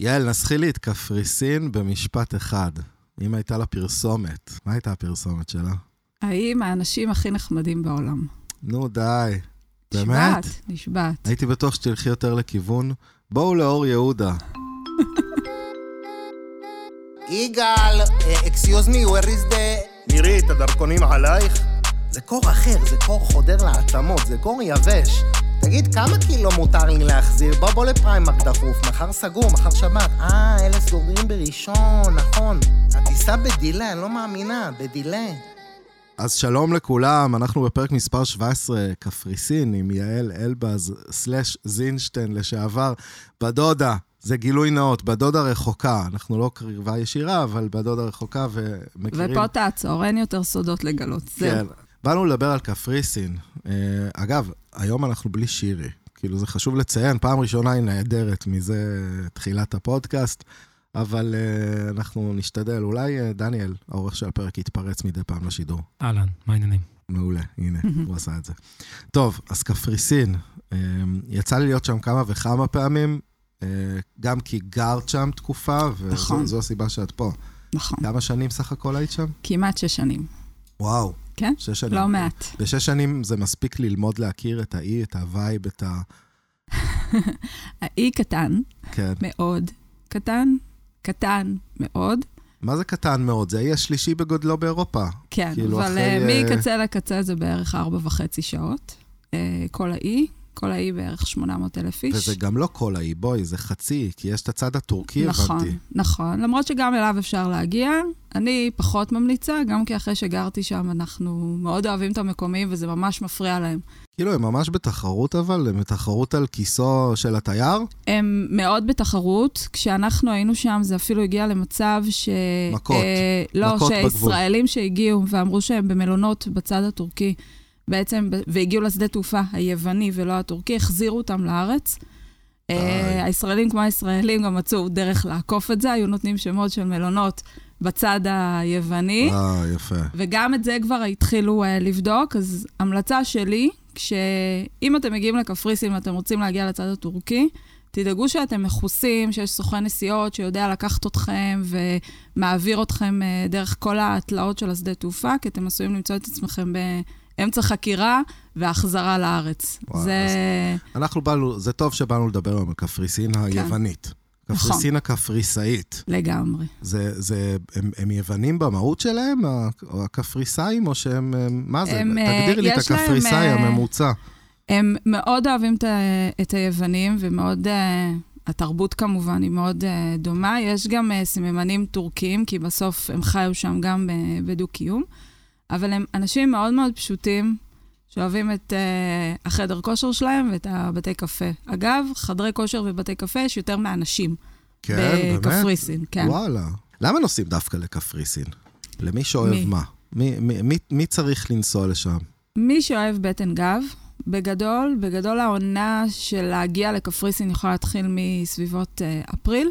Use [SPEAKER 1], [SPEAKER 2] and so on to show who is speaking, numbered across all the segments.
[SPEAKER 1] יעל, נסחי את קפריסין במשפט אחד. אם הייתה לה פרסומת, מה הייתה הפרסומת שלה?
[SPEAKER 2] האם האנשים הכי נחמדים בעולם?
[SPEAKER 1] נו, די. באמת?
[SPEAKER 2] נשבעת, נשבעת.
[SPEAKER 1] הייתי בטוח שתלכי יותר לכיוון. בואו לאור יהודה.
[SPEAKER 3] יגאל, אה, אקסיוז מי, where is the...
[SPEAKER 4] מירי, את הדרכונים עלייך?
[SPEAKER 3] זה קור אחר, זה קור חודר לעצמות, זה קור יבש. תגיד, כמה קילו מותר לי להחזיר? בוא בוא לפריימק דחוף, מחר סגור, מחר שבת. אה, אלה סוגרים בראשון, נכון. הטיסה בדילה, אני לא מאמינה, בדילה.
[SPEAKER 1] אז שלום לכולם, אנחנו בפרק מספר 17, קפריסין, עם יעל אלבז, סלאש זינשטיין לשעבר, בדודה. זה גילוי נאות, בדודה רחוקה. אנחנו לא קרבה ישירה, אבל בדודה רחוקה ומכירים.
[SPEAKER 2] ופה תעצור, אין יותר סודות לגלות. זהו.
[SPEAKER 1] כן. באנו לדבר על קפריסין. אה, אגב, היום אנחנו בלי שירי. כאילו, זה חשוב לציין, פעם ראשונה היא נעדרת מזה תחילת הפודקאסט, אבל אה, אנחנו נשתדל. אולי אה, דניאל, העורך של הפרק, יתפרץ מדי פעם לשידור.
[SPEAKER 5] אהלן, מה העניינים?
[SPEAKER 1] מעולה, הנה, הוא עשה את זה. טוב, אז קפריסין, אה, יצא לי להיות שם כמה וכמה פעמים, אה, גם כי גרת שם תקופה,
[SPEAKER 2] נכון.
[SPEAKER 1] וזו הסיבה שאת פה.
[SPEAKER 2] נכון.
[SPEAKER 1] כמה שנים סך הכל היית שם?
[SPEAKER 2] כמעט שש שנים,
[SPEAKER 1] וואו,
[SPEAKER 2] כן?
[SPEAKER 1] שש שנים.
[SPEAKER 2] לא מעט.
[SPEAKER 1] בשש שנים זה מספיק ללמוד להכיר את האי, את הווייב, את ה...
[SPEAKER 2] האי קטן,
[SPEAKER 1] כן.
[SPEAKER 2] מאוד קטן, קטן מאוד,
[SPEAKER 1] מה זה קטן מאוד? זה האי השלישי בגודלו באירופה.
[SPEAKER 2] כן,
[SPEAKER 1] כאילו,
[SPEAKER 2] אבל
[SPEAKER 1] אחרי,
[SPEAKER 2] אה,
[SPEAKER 1] אה,
[SPEAKER 2] מקצה לקצה זה בערך ארבע וחצי שעות, אה, כל האי, כל האי בערך 800 אלף איש.
[SPEAKER 1] וזה גם לא כל האי, בואי, זה חצי, כי יש את הצד הטורקי,
[SPEAKER 2] נכון,
[SPEAKER 1] הבנתי.
[SPEAKER 2] נכון. למרות שגם אליו אפשר להגיע, אני פחות ממליצה, גם כי אחרי שגרתי שם, אנחנו מאוד אוהבים את המקומיים וזה ממש מפריע להם.
[SPEAKER 1] כאילו, הם ממש בתחרות, אבל הם בתחרות על כיסו של התייר?
[SPEAKER 2] הם מאוד בתחרות. כשאנחנו היינו שם, זה אפילו הגיע למצב ש...
[SPEAKER 1] מכות.
[SPEAKER 2] אה, לא,
[SPEAKER 1] מכות בגבול.
[SPEAKER 2] שישראלים שהגיעו ואמרו שהם במלונות בצד הטורקי, בעצם, ב- והגיעו לשדה תעופה היווני ולא הטורקי, החזירו אותם לארץ. אה, הישראלים כמו הישראלים גם מצאו דרך לעקוף את זה, היו נותנים שמות של מלונות בצד היווני.
[SPEAKER 1] אה, יפה.
[SPEAKER 2] וגם את זה כבר התחילו uh, לבדוק, אז המלצה שלי, כשאם אתם מגיעים לקפריסין ואתם רוצים להגיע לצד הטורקי, תדאגו שאתם מכוסים, שיש סוכן נסיעות שיודע לקחת אתכם ומעביר אתכם uh, דרך כל התלאות של השדה תעופה, כי אתם עשויים למצוא את עצמכם באמצע חקירה והחזרה לארץ.
[SPEAKER 1] וואו,
[SPEAKER 2] זה...
[SPEAKER 1] אנחנו באנו, זה טוב שבאנו לדבר היום על קפריסין
[SPEAKER 2] כן.
[SPEAKER 1] היוונית.
[SPEAKER 2] נכון.
[SPEAKER 1] קפריסין הקפריסאית.
[SPEAKER 2] לגמרי.
[SPEAKER 1] זה, זה, הם, הם יוונים במהות שלהם, ה- או הקפריסאים, או שהם, הם- מה זה?
[SPEAKER 2] הם, אה,
[SPEAKER 1] תגדירי לי את
[SPEAKER 2] יש להם,
[SPEAKER 1] הקפריסאי
[SPEAKER 2] אה,
[SPEAKER 1] הממוצע.
[SPEAKER 2] הם מאוד אוהבים את, ה- את היוונים, ומאוד... אה, התרבות כמובן היא מאוד אה, דומה. יש גם אה, סממנים טורקיים, כי בסוף הם חיו שם גם אה, בדו-קיום. אבל הם אנשים מאוד מאוד פשוטים, שאוהבים את אה, החדר כושר שלהם ואת הבתי קפה. אגב, חדרי כושר ובתי קפה יש יותר מאנשים.
[SPEAKER 1] כן, באמת?
[SPEAKER 2] בקפריסין, כן.
[SPEAKER 1] וואלה. למה נוסעים דווקא לקפריסין? למי שאוהב
[SPEAKER 2] מי?
[SPEAKER 1] מה? מי, מי, מי, מי צריך לנסוע לשם?
[SPEAKER 2] מי שאוהב בטן גב, בגדול, בגדול העונה של להגיע לקפריסין יכולה להתחיל מסביבות אה, אפריל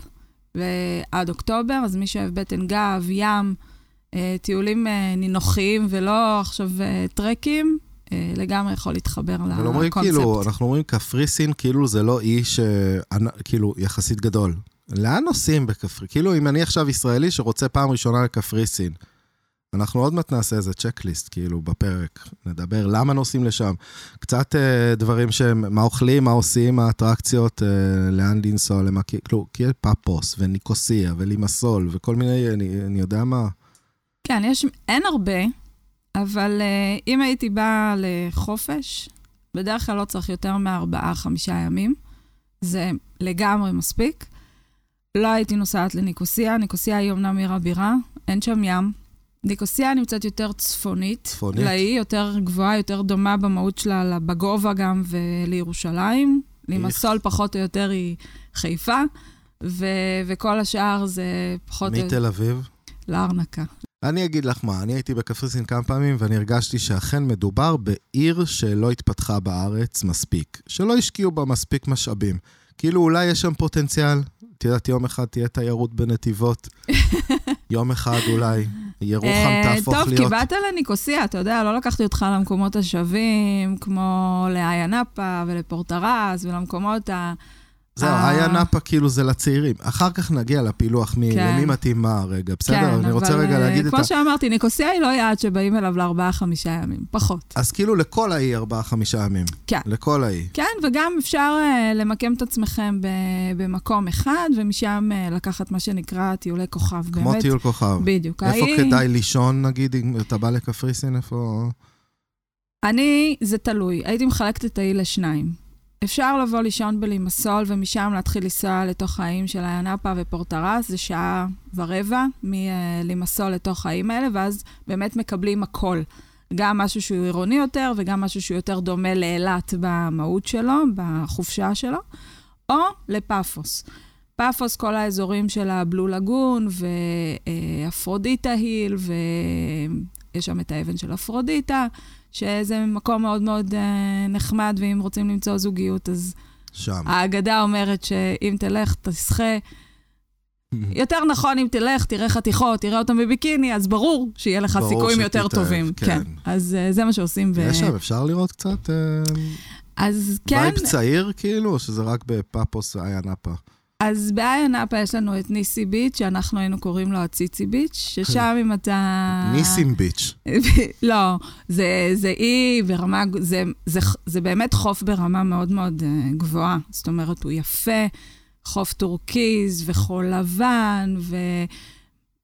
[SPEAKER 2] ועד אוקטובר, אז מי שאוהב בטן גב, ים, אה, טיולים אה, נינוחיים ולא עכשיו אה, טרקים, אה, לגמרי יכול להתחבר
[SPEAKER 1] אבל אומרים
[SPEAKER 2] לקונספט.
[SPEAKER 1] כאילו, אנחנו אומרים קפריסין, כאילו זה לא אי ש... כאילו, יחסית גדול. לאן נוסעים בקפריסין? כאילו, אם אני עכשיו ישראלי שרוצה פעם ראשונה לקפריסין, אנחנו עוד מעט נעשה איזה צ'קליסט, כאילו, בפרק. נדבר למה נוסעים לשם. קצת אה, דברים שהם, מה אוכלים, מה עושים, מה האטרקציות, אה, לאן לנסוע, למה... כי- כאילו, כי יש פאפוס וניקוסיה ולימסול וכל מיני, אני, אני יודע מה.
[SPEAKER 2] כן, יש, אין הרבה, אבל אה, אם הייתי באה לחופש, בדרך כלל לא צריך יותר מארבעה-חמישה ימים. זה לגמרי מספיק. לא הייתי נוסעת לניקוסיה, ניקוסיה היא אמנם עיר הבירה, אין שם ים. ניקוסיה נמצאת יותר צפונית.
[SPEAKER 1] צפונית.
[SPEAKER 2] לאי יותר גבוהה, יותר דומה במהות שלה, בגובה גם ולירושלים. לימסול פחות או יותר היא חיפה, ו- וכל השאר זה פחות או יותר
[SPEAKER 1] מתל אביב?
[SPEAKER 2] לארנקה.
[SPEAKER 1] אני אגיד לך מה, אני הייתי בקפריסין כמה פעמים ואני הרגשתי שאכן מדובר בעיר שלא התפתחה בארץ מספיק, שלא השקיעו בה מספיק משאבים. כאילו אולי יש שם פוטנציאל, את יודעת, יום אחד תהיה תיירות בנתיבות, יום אחד אולי ירוחם
[SPEAKER 2] אה,
[SPEAKER 1] תהפוך להיות...
[SPEAKER 2] טוב, כי באת לניקוסיה, אתה יודע, לא לקחתי אותך למקומות השווים, כמו לאיה נאפה ולפורטרס ולמקומות ה...
[SPEAKER 1] זהו,
[SPEAKER 2] אה.
[SPEAKER 1] היה נאפה כאילו זה לצעירים. אחר כך נגיע לפילוח, מי,
[SPEAKER 2] כן.
[SPEAKER 1] למי מתאים מה רגע, בסדר?
[SPEAKER 2] כן,
[SPEAKER 1] אבל אני רוצה רגע
[SPEAKER 2] אה,
[SPEAKER 1] להגיד את ה...
[SPEAKER 2] כמו שאמרתי, ניקוסיה היא לא יעד שבאים אליו לארבעה-חמישה ימים, פחות.
[SPEAKER 1] אז כאילו לכל האי ארבעה-חמישה ימים.
[SPEAKER 2] כן.
[SPEAKER 1] לכל האי.
[SPEAKER 2] כן, וגם אפשר אה, למקם את עצמכם ב- במקום אחד, ומשם אה, לקחת מה שנקרא טיולי כוכב.
[SPEAKER 1] כמו
[SPEAKER 2] באמת.
[SPEAKER 1] טיול כוכב.
[SPEAKER 2] בדיוק.
[SPEAKER 1] איפה
[SPEAKER 2] האי-
[SPEAKER 1] כדאי לישון, נגיד, אם אתה בא לקפריסין, איפה...
[SPEAKER 2] אני, זה תלוי. הייתי מחלקת את האי לשניים. אפשר לבוא לישון בלימסול, ומשם להתחיל לנסוע לתוך האיים של איינפה ופורטרס, זה שעה ורבע מלימסול לתוך האיים האלה, ואז באמת מקבלים הכל. גם משהו שהוא עירוני יותר, וגם משהו שהוא יותר דומה לאילת במהות שלו, בחופשה שלו, או לפאפוס. פאפוס, כל האזורים של הבלו לגון, ואפרודיטה היל, ויש שם את האבן של אפרודיטה, שזה מקום מאוד מאוד אה, נחמד, ואם רוצים למצוא זוגיות, אז
[SPEAKER 1] שם.
[SPEAKER 2] אה, האגדה אומרת שאם תלך, תשחה. יותר נכון, אם תלך, תראה חתיכות, תראה אותם בביקיני, אז ברור שיהיה לך
[SPEAKER 1] ברור
[SPEAKER 2] סיכויים יותר
[SPEAKER 1] שתתאהב,
[SPEAKER 2] טובים.
[SPEAKER 1] כן.
[SPEAKER 2] אז אה, זה מה שעושים. ו-
[SPEAKER 1] יש שם, אפשר לראות קצת אה,
[SPEAKER 2] אז כן,
[SPEAKER 1] וייב צעיר, כאילו, או שזה רק בפאפוס ואיה נאפה?
[SPEAKER 2] אז באיה נאפה יש לנו את ניסי ביץ', שאנחנו היינו קוראים לו הציצי ביץ', ששם אם אתה...
[SPEAKER 1] ניסים ביץ'.
[SPEAKER 2] לא, זה, זה אי ברמה, זה, זה, זה באמת חוף ברמה מאוד מאוד אה, גבוהה. זאת אומרת, הוא יפה, חוף טורקיז וחול לבן,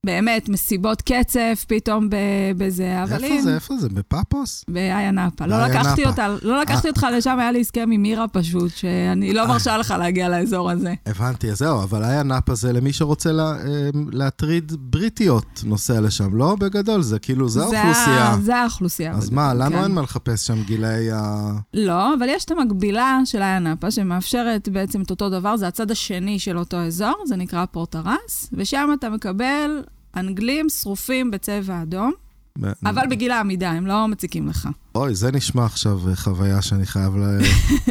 [SPEAKER 2] ובאמת מסיבות קצף פתאום ב, בזה, אבל אם...
[SPEAKER 1] איפה זה, איפה זה? בפאפוס?
[SPEAKER 2] באיה נאפה. לא
[SPEAKER 1] באיה
[SPEAKER 2] לקחתי
[SPEAKER 1] נאפה.
[SPEAKER 2] אותה, לא לקחתי
[SPEAKER 1] אה.
[SPEAKER 2] אותך לשם, היה לי הסכם עם מירה פשוט, שאני לא מרשה לך להגיע לאזור הזה.
[SPEAKER 1] הבנתי, אז זהו, אבל איה נאפה זה למי שרוצה לה, אה, להטריד בריטיות נוסע לשם, לא? בגדול, זה כאילו, זה
[SPEAKER 2] ה-
[SPEAKER 1] האוכלוסייה.
[SPEAKER 2] זה האוכלוסייה.
[SPEAKER 1] אז
[SPEAKER 2] בדיוק,
[SPEAKER 1] מה, לנו
[SPEAKER 2] כן.
[SPEAKER 1] אין מה לחפש שם גילאי ה...
[SPEAKER 2] לא, אבל יש את המקבילה של איה נאפה, שמאפשרת בעצם את אותו דבר, זה הצד השני של אותו אזור, זה נקרא פורטרס, ושם אתה מקבל אנגלים שרופים בצבע אדום,
[SPEAKER 1] Mm.
[SPEAKER 2] אבל בגיל העמידה, הם לא מציקים לך.
[SPEAKER 1] אוי, זה נשמע עכשיו אה, חוויה שאני חייב ל...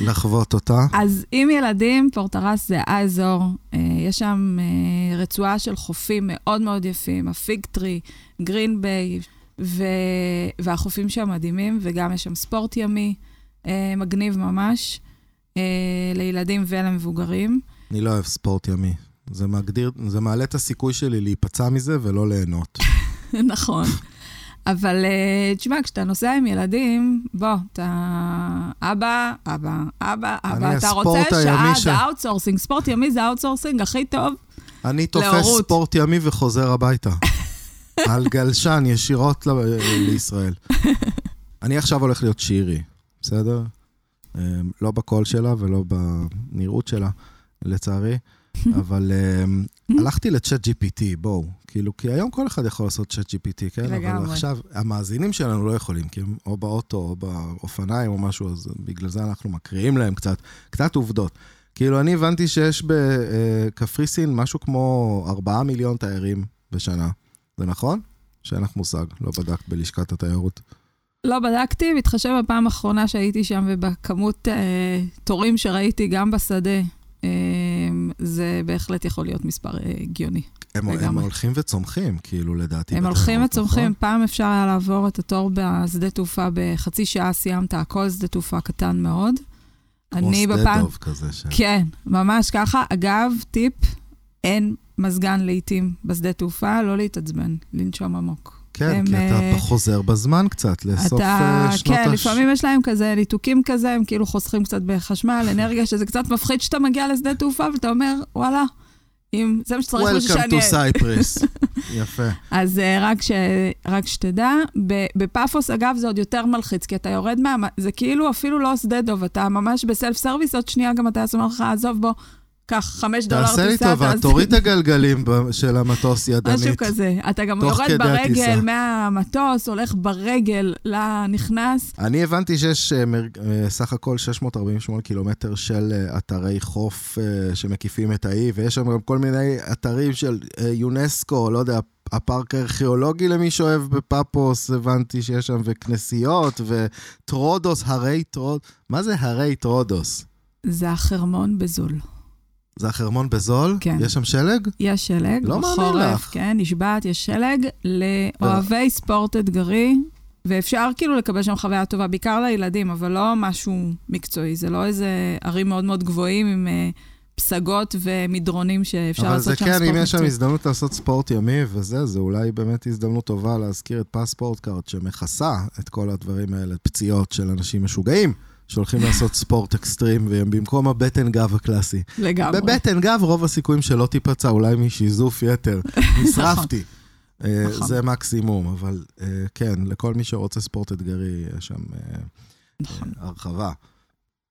[SPEAKER 1] לחוות אותה.
[SPEAKER 2] אז עם ילדים, פורטרס זה האזור. אה, יש שם אה, רצועה של חופים מאוד מאוד יפים, הפיג טרי, גרין ביי, ו... והחופים שם מדהימים, וגם יש שם ספורט ימי, אה, מגניב ממש, אה, לילדים ולמבוגרים.
[SPEAKER 1] אני לא אוהב ספורט ימי. זה מגדיר, זה מעלה את הסיכוי שלי להיפצע מזה ולא ליהנות.
[SPEAKER 2] נכון. אבל אה, תשמע, כשאתה נוסע עם ילדים, בוא, אתה אבא, אבא, אבא, אבא,
[SPEAKER 1] אני
[SPEAKER 2] אתה רוצה
[SPEAKER 1] הספורט
[SPEAKER 2] שעה,
[SPEAKER 1] הימי ש-
[SPEAKER 2] זה אאוטסורסינג. ספורט ימי זה האוטסורסינג הכי טוב.
[SPEAKER 1] אני תופס
[SPEAKER 2] להורות.
[SPEAKER 1] ספורט ימי וחוזר הביתה. על גלשן, ישירות ל- לישראל. אני עכשיו הולך להיות שירי, בסדר? אמ, לא בקול שלה ולא בנראות שלה, לצערי, אבל אמ, הלכתי לצ'אט GPT, בואו. כאילו, כי היום כל אחד יכול לעשות צ'אט GPT, כן? אבל
[SPEAKER 2] לגמרי.
[SPEAKER 1] עכשיו, המאזינים שלנו לא יכולים, כי הם או באוטו או באופניים או משהו, אז בגלל זה אנחנו מקריאים להם קצת, קצת עובדות. כאילו, אני הבנתי שיש בקפריסין משהו כמו 4 מיליון תיירים בשנה. זה נכון? שאין לך מושג, לא בדקת בלשכת התיירות.
[SPEAKER 2] לא בדקתי, מתחשב בפעם האחרונה שהייתי שם ובכמות אה, תורים שראיתי גם בשדה, אה, זה בהחלט יכול להיות מספר אה, הגיוני.
[SPEAKER 1] הם, הם
[SPEAKER 2] לגמרי.
[SPEAKER 1] הולכים וצומחים, כאילו, לדעתי.
[SPEAKER 2] הם
[SPEAKER 1] בתיירות,
[SPEAKER 2] הולכים וצומחים,
[SPEAKER 1] נכון?
[SPEAKER 2] פעם אפשר היה לעבור את התור בשדה תעופה בחצי שעה, סיימת הכל, שדה תעופה קטן מאוד. אני
[SPEAKER 1] כמו שדה
[SPEAKER 2] בפעם...
[SPEAKER 1] דוב כזה. ש...
[SPEAKER 2] כן, ממש ככה. אגב, טיפ, אין מזגן לעיתים בשדה תעופה, לא להתעצבן, לנשום עמוק.
[SPEAKER 1] כן, כי
[SPEAKER 2] הם,
[SPEAKER 1] אתה
[SPEAKER 2] אה,
[SPEAKER 1] חוזר בזמן קצת, לסוף
[SPEAKER 2] אתה,
[SPEAKER 1] אה, שנות
[SPEAKER 2] כן,
[SPEAKER 1] הש-
[SPEAKER 2] לפעמים יש להם כזה ניתוקים כזה, הם כאילו חוסכים קצת בחשמל, אנרגיה, שזה קצת מפחיד שאתה מגיע לשדה תעופה ואתה אומר, וואלה, אם זה מה שצריך בשביל
[SPEAKER 1] Welcome
[SPEAKER 2] שאני...
[SPEAKER 1] to Cyprus. יפה.
[SPEAKER 2] אז אה, רק, ש... רק שתדע, ב- בפאפוס, אגב, זה עוד יותר מלחיץ, כי אתה יורד מה... זה כאילו אפילו לא שדה דוב, אתה ממש בסלף סרוויס, עוד שנייה גם אתה אומר לך, עזוב, בוא, קח חמש דולר
[SPEAKER 1] תעשה לי
[SPEAKER 2] טיסה,
[SPEAKER 1] טובה,
[SPEAKER 2] תעשה-
[SPEAKER 1] תוריד את הגלגלים ב- של המטוס ידנית.
[SPEAKER 2] משהו כזה. אתה גם
[SPEAKER 1] תוך
[SPEAKER 2] יורד
[SPEAKER 1] כדי הטיסה.
[SPEAKER 2] ברגל מהמטוס, הולך ברגל לנכנס,
[SPEAKER 1] אני הבנתי שיש אה, מר- אה, סך הכל 648 קילומטר של אה, אתרי חוף אה, שמקיפים את האי, ויש שם גם כל מיני אתרים של אה, יונסקו, לא יודע, הפארק הארכיאולוגי למי שאוהב בפאפוס, הבנתי שיש שם, וכנסיות, וטרודוס, הרי טרודוס. מה זה הרי טרודוס?
[SPEAKER 2] זה החרמון בזול.
[SPEAKER 1] זה החרמון בזול?
[SPEAKER 2] כן.
[SPEAKER 1] יש שם שלג?
[SPEAKER 2] יש שלג
[SPEAKER 1] לא מאמין
[SPEAKER 2] בחורף,
[SPEAKER 1] לך. לא.
[SPEAKER 2] כן, נשבעת, יש שלג. לאוהבי ספורט אתגרי, ואפשר כאילו לקבל שם חוויה טובה, בעיקר לילדים, אבל לא משהו מקצועי, זה לא איזה ערים מאוד מאוד גבוהים עם אה, פסגות ומדרונים שאפשר
[SPEAKER 1] אבל
[SPEAKER 2] לעשות שם
[SPEAKER 1] זה
[SPEAKER 2] ספורט
[SPEAKER 1] כן,
[SPEAKER 2] מקצועי.
[SPEAKER 1] אם יש שם הזדמנות לעשות ספורט ימי וזה, זה אולי באמת הזדמנות טובה להזכיר את פספורט קארט, שמכסה את כל הדברים האלה, פציעות של אנשים משוגעים, שהולכים לעשות ספורט אקסטרים, והם במקום הבטן גב הקלאסי.
[SPEAKER 2] לגמרי.
[SPEAKER 1] בבטן גב רוב הסיכויים שלא תיפצע, אולי משיזוף יתר. נשרפתי. אה,
[SPEAKER 2] נכון.
[SPEAKER 1] זה מקסימום, אבל אה, כן, לכל מי שרוצה ספורט אתגרי, יש שם אה,
[SPEAKER 2] נכון.
[SPEAKER 1] הרחבה.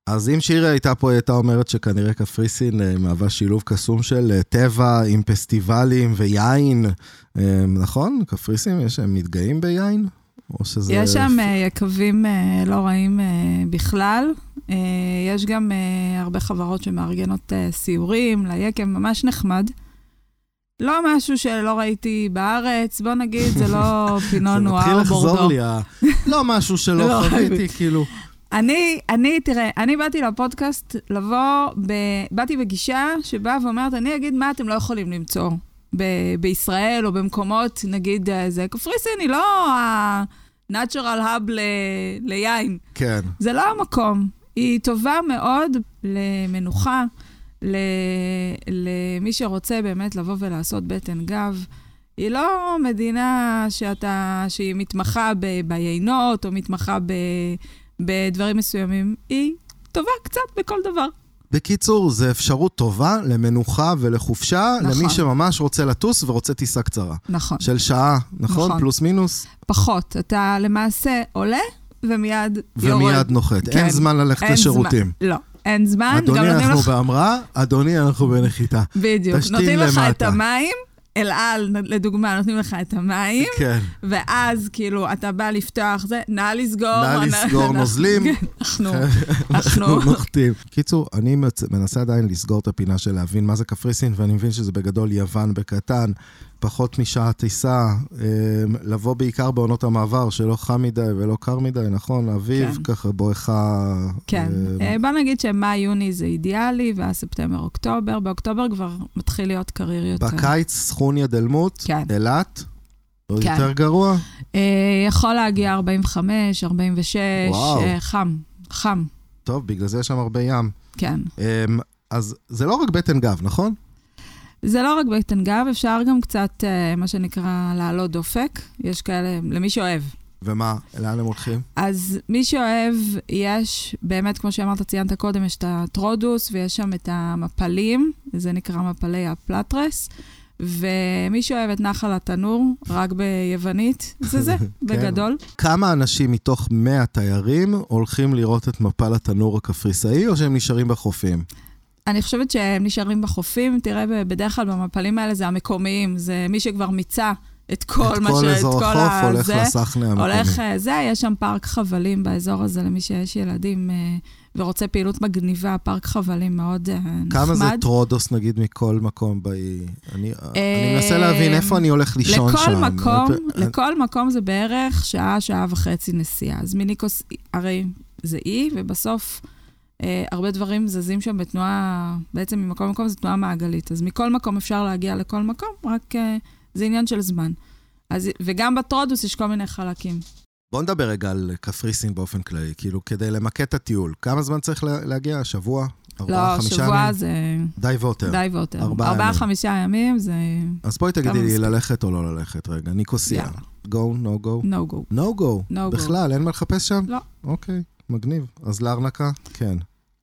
[SPEAKER 1] אז אם שירי הייתה פה, היא הייתה אומרת שכנראה קפריסין אה, מהווה שילוב קסום של אה, טבע עם פסטיבלים ויין, אה, נכון? קפריסין, יש הם מתגאים ביין? או שזה...
[SPEAKER 2] יש שם אה, יקבים אה, לא רעים אה, בכלל. אה, יש גם אה, הרבה חברות שמארגנות אה, סיורים ליקב, ממש נחמד. לא משהו שלא ראיתי בארץ, בוא נגיד, זה לא פינו
[SPEAKER 1] זה
[SPEAKER 2] נואר
[SPEAKER 1] מתחיל
[SPEAKER 2] בורדו.
[SPEAKER 1] לחזור לי, ה- לא משהו שלא
[SPEAKER 2] לא,
[SPEAKER 1] חוויתי, כאילו...
[SPEAKER 2] אני, אני, תראה, אני באתי לפודקאסט לבוא, ב, באתי בגישה שבאה ואומרת, אני אגיד מה אתם לא יכולים למצוא ב, בישראל או במקומות, נגיד, אה, זה קפריסין, היא לא ה-natural hub ל, ליין.
[SPEAKER 1] כן.
[SPEAKER 2] זה לא המקום. היא טובה מאוד למנוחה, ל... למי שרוצה באמת לבוא ולעשות בטן גב. היא לא מדינה שאתה, שהיא מתמחה ב... ביינות או מתמחה ב... בדברים מסוימים, היא טובה קצת בכל דבר.
[SPEAKER 1] בקיצור, זו אפשרות טובה למנוחה ולחופשה,
[SPEAKER 2] נכון.
[SPEAKER 1] למי שממש רוצה לטוס ורוצה טיסה קצרה.
[SPEAKER 2] נכון, ש...
[SPEAKER 1] של שעה, נכון?
[SPEAKER 2] נכון.
[SPEAKER 1] פלוס מינוס,
[SPEAKER 2] פחות. אתה למעשה עולה ומיד יורד.
[SPEAKER 1] ומיד נוחת.
[SPEAKER 2] כן.
[SPEAKER 1] אין זמן ללכת
[SPEAKER 2] אין
[SPEAKER 1] לשירותים.
[SPEAKER 2] זמן. לא, אין זמן. גם
[SPEAKER 1] אדוני,
[SPEAKER 2] נותנים
[SPEAKER 1] אנחנו
[SPEAKER 2] לך-
[SPEAKER 1] בהמראה, אדוני, אנחנו בנחיתה.
[SPEAKER 2] בדיוק.
[SPEAKER 1] תשתין
[SPEAKER 2] נותנים לך את
[SPEAKER 1] למטה.
[SPEAKER 2] המים, אל על, לדוגמה, נותנים לך את המים,
[SPEAKER 1] כן.
[SPEAKER 2] ואז כאילו, אתה בא לפתוח זה, נא לסגור.
[SPEAKER 1] נא
[SPEAKER 2] אנחנו-
[SPEAKER 1] לסגור
[SPEAKER 2] אנחנו-
[SPEAKER 1] נוזלים.
[SPEAKER 2] כן, אנחנו,
[SPEAKER 1] כן. אנחנו
[SPEAKER 2] אנחנו,
[SPEAKER 1] נוחתים. קיצור, אני מצ- מנסה עדיין לסגור את הפינה של להבין מה זה קפריסין, ואני מבין שזה בגדול יוון בקטן, פחות משעה טיסה, אמ, לבוא בעיקר בעונות המעבר, שלא חם מדי ולא קר מדי, נכון? אביב,
[SPEAKER 2] כן.
[SPEAKER 1] ככה בואכה...
[SPEAKER 2] כן.
[SPEAKER 1] אמ,
[SPEAKER 2] אה, בוא נגיד שמאי-יוני זה אידיאלי, ואז ספטמבר-אוקטובר. באוקטובר כבר מתחיל להיות קריר יותר.
[SPEAKER 1] בקיץ, סכוניה דלמוט,
[SPEAKER 2] כן.
[SPEAKER 1] אילת, עוד
[SPEAKER 2] כן.
[SPEAKER 1] יותר גרוע.
[SPEAKER 2] אה, יכול להגיע 45, 46,
[SPEAKER 1] וואו.
[SPEAKER 2] אה, חם, חם,
[SPEAKER 1] טוב, בגלל זה יש שם הרבה ים.
[SPEAKER 2] כן.
[SPEAKER 1] אמ, אז זה לא רק בטן גב, נכון?
[SPEAKER 2] זה לא רק בטן גב, אפשר גם קצת, אה, מה שנקרא, להעלות דופק. יש כאלה, למי שאוהב.
[SPEAKER 1] ומה, לאן הם הולכים?
[SPEAKER 2] אז מי שאוהב, יש באמת, כמו שאמרת, ציינת קודם, יש את הטרודוס ויש שם את המפלים, זה נקרא מפלי הפלטרס. ומי שאוהב את נחל התנור, רק ביוונית, זה זה,
[SPEAKER 1] כן.
[SPEAKER 2] בגדול.
[SPEAKER 1] כמה אנשים מתוך 100 תיירים הולכים לראות את מפל התנור הקפריסאי, או שהם נשארים בחופים?
[SPEAKER 2] אני חושבת שהם נשארים בחופים, תראה, ב- בדרך כלל במפלים האלה זה המקומיים, זה מי שכבר מיצה את כל
[SPEAKER 1] את
[SPEAKER 2] מה ש...
[SPEAKER 1] כל אזור החוף
[SPEAKER 2] ה-
[SPEAKER 1] הולך
[SPEAKER 2] זה.
[SPEAKER 1] לסחנה המקומי.
[SPEAKER 2] הולך, אה, זה, יש שם פארק חבלים באזור הזה, למי שיש ילדים אה, ורוצה פעילות מגניבה, פארק חבלים מאוד אה, נחמד.
[SPEAKER 1] כמה זה טרודוס, נגיד, מכל מקום באי? אני אני מנסה
[SPEAKER 2] אה,
[SPEAKER 1] להבין איפה אני הולך לישון שם.
[SPEAKER 2] לכל מקום,
[SPEAKER 1] אה,
[SPEAKER 2] לכל מקום זה בערך שעה, שעה וחצי נסיעה. אז מניקוס, הרי זה אי, ובסוף אה, הרבה דברים זזים שם בתנועה, בעצם ממקום למקום זו תנועה מעגלית. אז מכל מקום אפשר להגיע לכל מקום, רק אה, זה עניין של זמן. אז, וגם בטרודוס יש כל מיני חלקים.
[SPEAKER 1] בוא נדבר רגע על קפריסין באופן כללי, כאילו, כדי למקד את הטיול. כמה זמן צריך לה- להגיע? שבוע? ארבעה,
[SPEAKER 2] לא,
[SPEAKER 1] חמישה
[SPEAKER 2] שבוע
[SPEAKER 1] ימים?
[SPEAKER 2] זה
[SPEAKER 1] די ויותר.
[SPEAKER 2] די ויותר.
[SPEAKER 1] ארבעה
[SPEAKER 2] ארבעה,
[SPEAKER 1] ימים.
[SPEAKER 2] חמישה ימים זה
[SPEAKER 1] אז בואי תגידי
[SPEAKER 2] כמה
[SPEAKER 1] לי
[SPEAKER 2] מספיק?
[SPEAKER 1] ללכת או לא ללכת רגע. ניקוסיה.
[SPEAKER 2] יאללה.
[SPEAKER 1] גו, נו גו.
[SPEAKER 2] no go.
[SPEAKER 1] נו גו.
[SPEAKER 2] No go.
[SPEAKER 1] בכלל, אין מה לחפש שם?
[SPEAKER 2] לא.
[SPEAKER 1] אוקיי, מגניב. אז לארנקה? כן.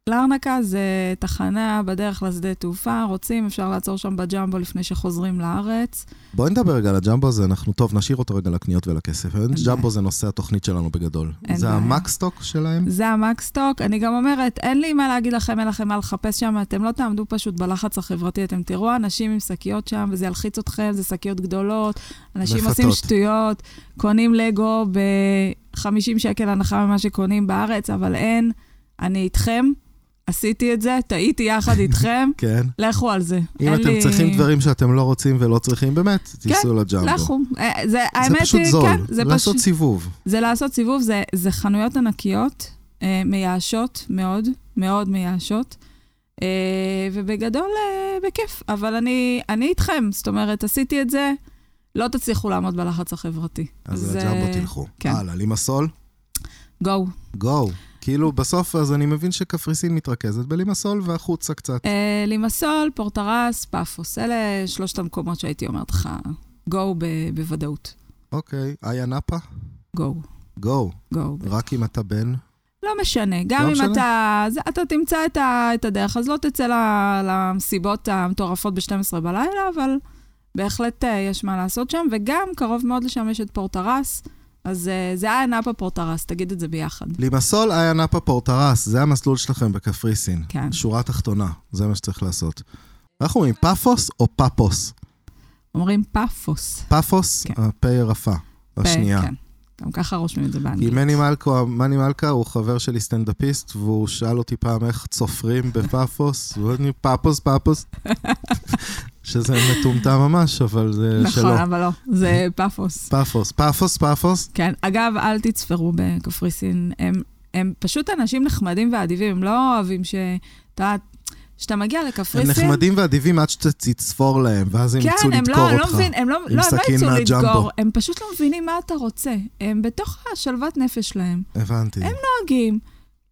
[SPEAKER 2] לארנקה זה תחנה בדרך לשדה תעופה, רוצים, אפשר לעצור שם בג'מבו לפני שחוזרים לארץ.
[SPEAKER 1] בואי נדבר רגע על הג'מבו הזה, אנחנו, טוב, נשאיר אותו רגע לקניות ולכסף. ג'מבו
[SPEAKER 2] בעיה.
[SPEAKER 1] זה נושא התוכנית שלנו בגדול.
[SPEAKER 2] אין
[SPEAKER 1] זה
[SPEAKER 2] בעיה.
[SPEAKER 1] המקסטוק שלהם?
[SPEAKER 2] זה המקסטוק. אני גם אומרת, אין לי מה להגיד לכם, אין לכם מה לחפש שם, אתם לא תעמדו פשוט בלחץ החברתי, אתם תראו אנשים עם שקיות שם, וזה ילחיץ אתכם, זה שקיות גדולות, אנשים
[SPEAKER 1] מפתות.
[SPEAKER 2] עושים שטויות, קונים לגו ב-50 שקל הנחה ממה שקונים בארץ, אבל אין, אני איתכם, עשיתי את זה, טעיתי יחד איתכם,
[SPEAKER 1] כן.
[SPEAKER 2] לכו על זה.
[SPEAKER 1] אם
[SPEAKER 2] אין
[SPEAKER 1] אתם
[SPEAKER 2] לי- כן,
[SPEAKER 1] צריכים דברים שאתם לא רוצים ולא צריכים, באמת, תיסעו לג'מבו.
[SPEAKER 2] לכו. אה, זה,
[SPEAKER 1] זה
[SPEAKER 2] האמת
[SPEAKER 1] פשוט
[SPEAKER 2] היא,
[SPEAKER 1] זול.
[SPEAKER 2] כן, זה
[SPEAKER 1] לעשות
[SPEAKER 2] פשוט...
[SPEAKER 1] סיבוב.
[SPEAKER 2] זה לעשות סיבוב, זה, זה חנויות ענקיות, אה, מייאשות מאוד, מאוד מייאשות, אה, ובגדול, אה, בכיף. אבל אני, אני איתכם, זאת אומרת, עשיתי את זה, לא תצליחו לעמוד בלחץ החברתי.
[SPEAKER 1] אז לג'מבו תלכו.
[SPEAKER 2] כן.
[SPEAKER 1] הלאה, לימסול,
[SPEAKER 2] גו.
[SPEAKER 1] גו. כאילו, בסוף, אז אני מבין שקפריסין מתרכזת בלימסול והחוצה קצת.
[SPEAKER 2] אה, לימסול, פורטרס, פאפוס, אלה שלושת המקומות שהייתי אומרת לך, גו ב- בוודאות.
[SPEAKER 1] אוקיי, איה נאפה,
[SPEAKER 2] גו,
[SPEAKER 1] גו.
[SPEAKER 2] גו.
[SPEAKER 1] רק אם אתה בן.
[SPEAKER 2] לא משנה, גם אם
[SPEAKER 1] משנה?
[SPEAKER 2] אתה... זה- אתה תמצא את ה- את הדרך, אז לא תצא ל- למסיבות המטורפות ב-12 בלילה, אבל בהחלט אה, יש מה לעשות שם, וגם קרוב מאוד לשם יש את פורטרס, אז אה, זה היה נאפה פורטרס, תגיד את זה ביחד.
[SPEAKER 1] לימסול, איה נאפה פורטרס, זה המסלול שלכם בקפריסין.
[SPEAKER 2] כן.
[SPEAKER 1] שורה תחתונה, זה מה שצריך לעשות. אנחנו אומרים פאפוס או פאפוס?
[SPEAKER 2] אומרים פאפוס.
[SPEAKER 1] פאפוס,
[SPEAKER 2] כן.
[SPEAKER 1] הפה רפה, השנייה.
[SPEAKER 2] כן, גם ככה רושמים את זה
[SPEAKER 1] כי
[SPEAKER 2] באנגלית.
[SPEAKER 1] מני מלכה, מני מלכה הוא חבר שלי סטנדאפיסט, והוא שאל אותי פעם איך צופרים בפאפוס, הוא אומר לי פאפוס, פאפוס, שזה מטומטם ממש, אבל זה שלו.
[SPEAKER 2] נכון, אבל לא, זה פאפוס.
[SPEAKER 1] פאפוס, פאפוס, פאפוס.
[SPEAKER 2] כן, אגב, אל תצפרו בקפריסין. הם, הם פשוט אנשים נחמדים ואדיבים, הם לא אוהבים ש... אתה, כשאתה מגיע
[SPEAKER 1] הם
[SPEAKER 2] לקפריסין...
[SPEAKER 1] נחמדים ואדיבים עד שתצפור להם, ואז הם יצאו
[SPEAKER 2] כן, הם לא,
[SPEAKER 1] לדקור
[SPEAKER 2] הם לא
[SPEAKER 1] אותך.
[SPEAKER 2] מבינים, הם לא,
[SPEAKER 1] עם
[SPEAKER 2] לא, הם לא
[SPEAKER 1] סכין
[SPEAKER 2] יצאו
[SPEAKER 1] מהג'מבו.
[SPEAKER 2] לדקור, הם פשוט לא מבינים מה אתה רוצה. הם בתוך השלוות נפש שלהם. לא
[SPEAKER 1] הבנתי.
[SPEAKER 2] נוהגים,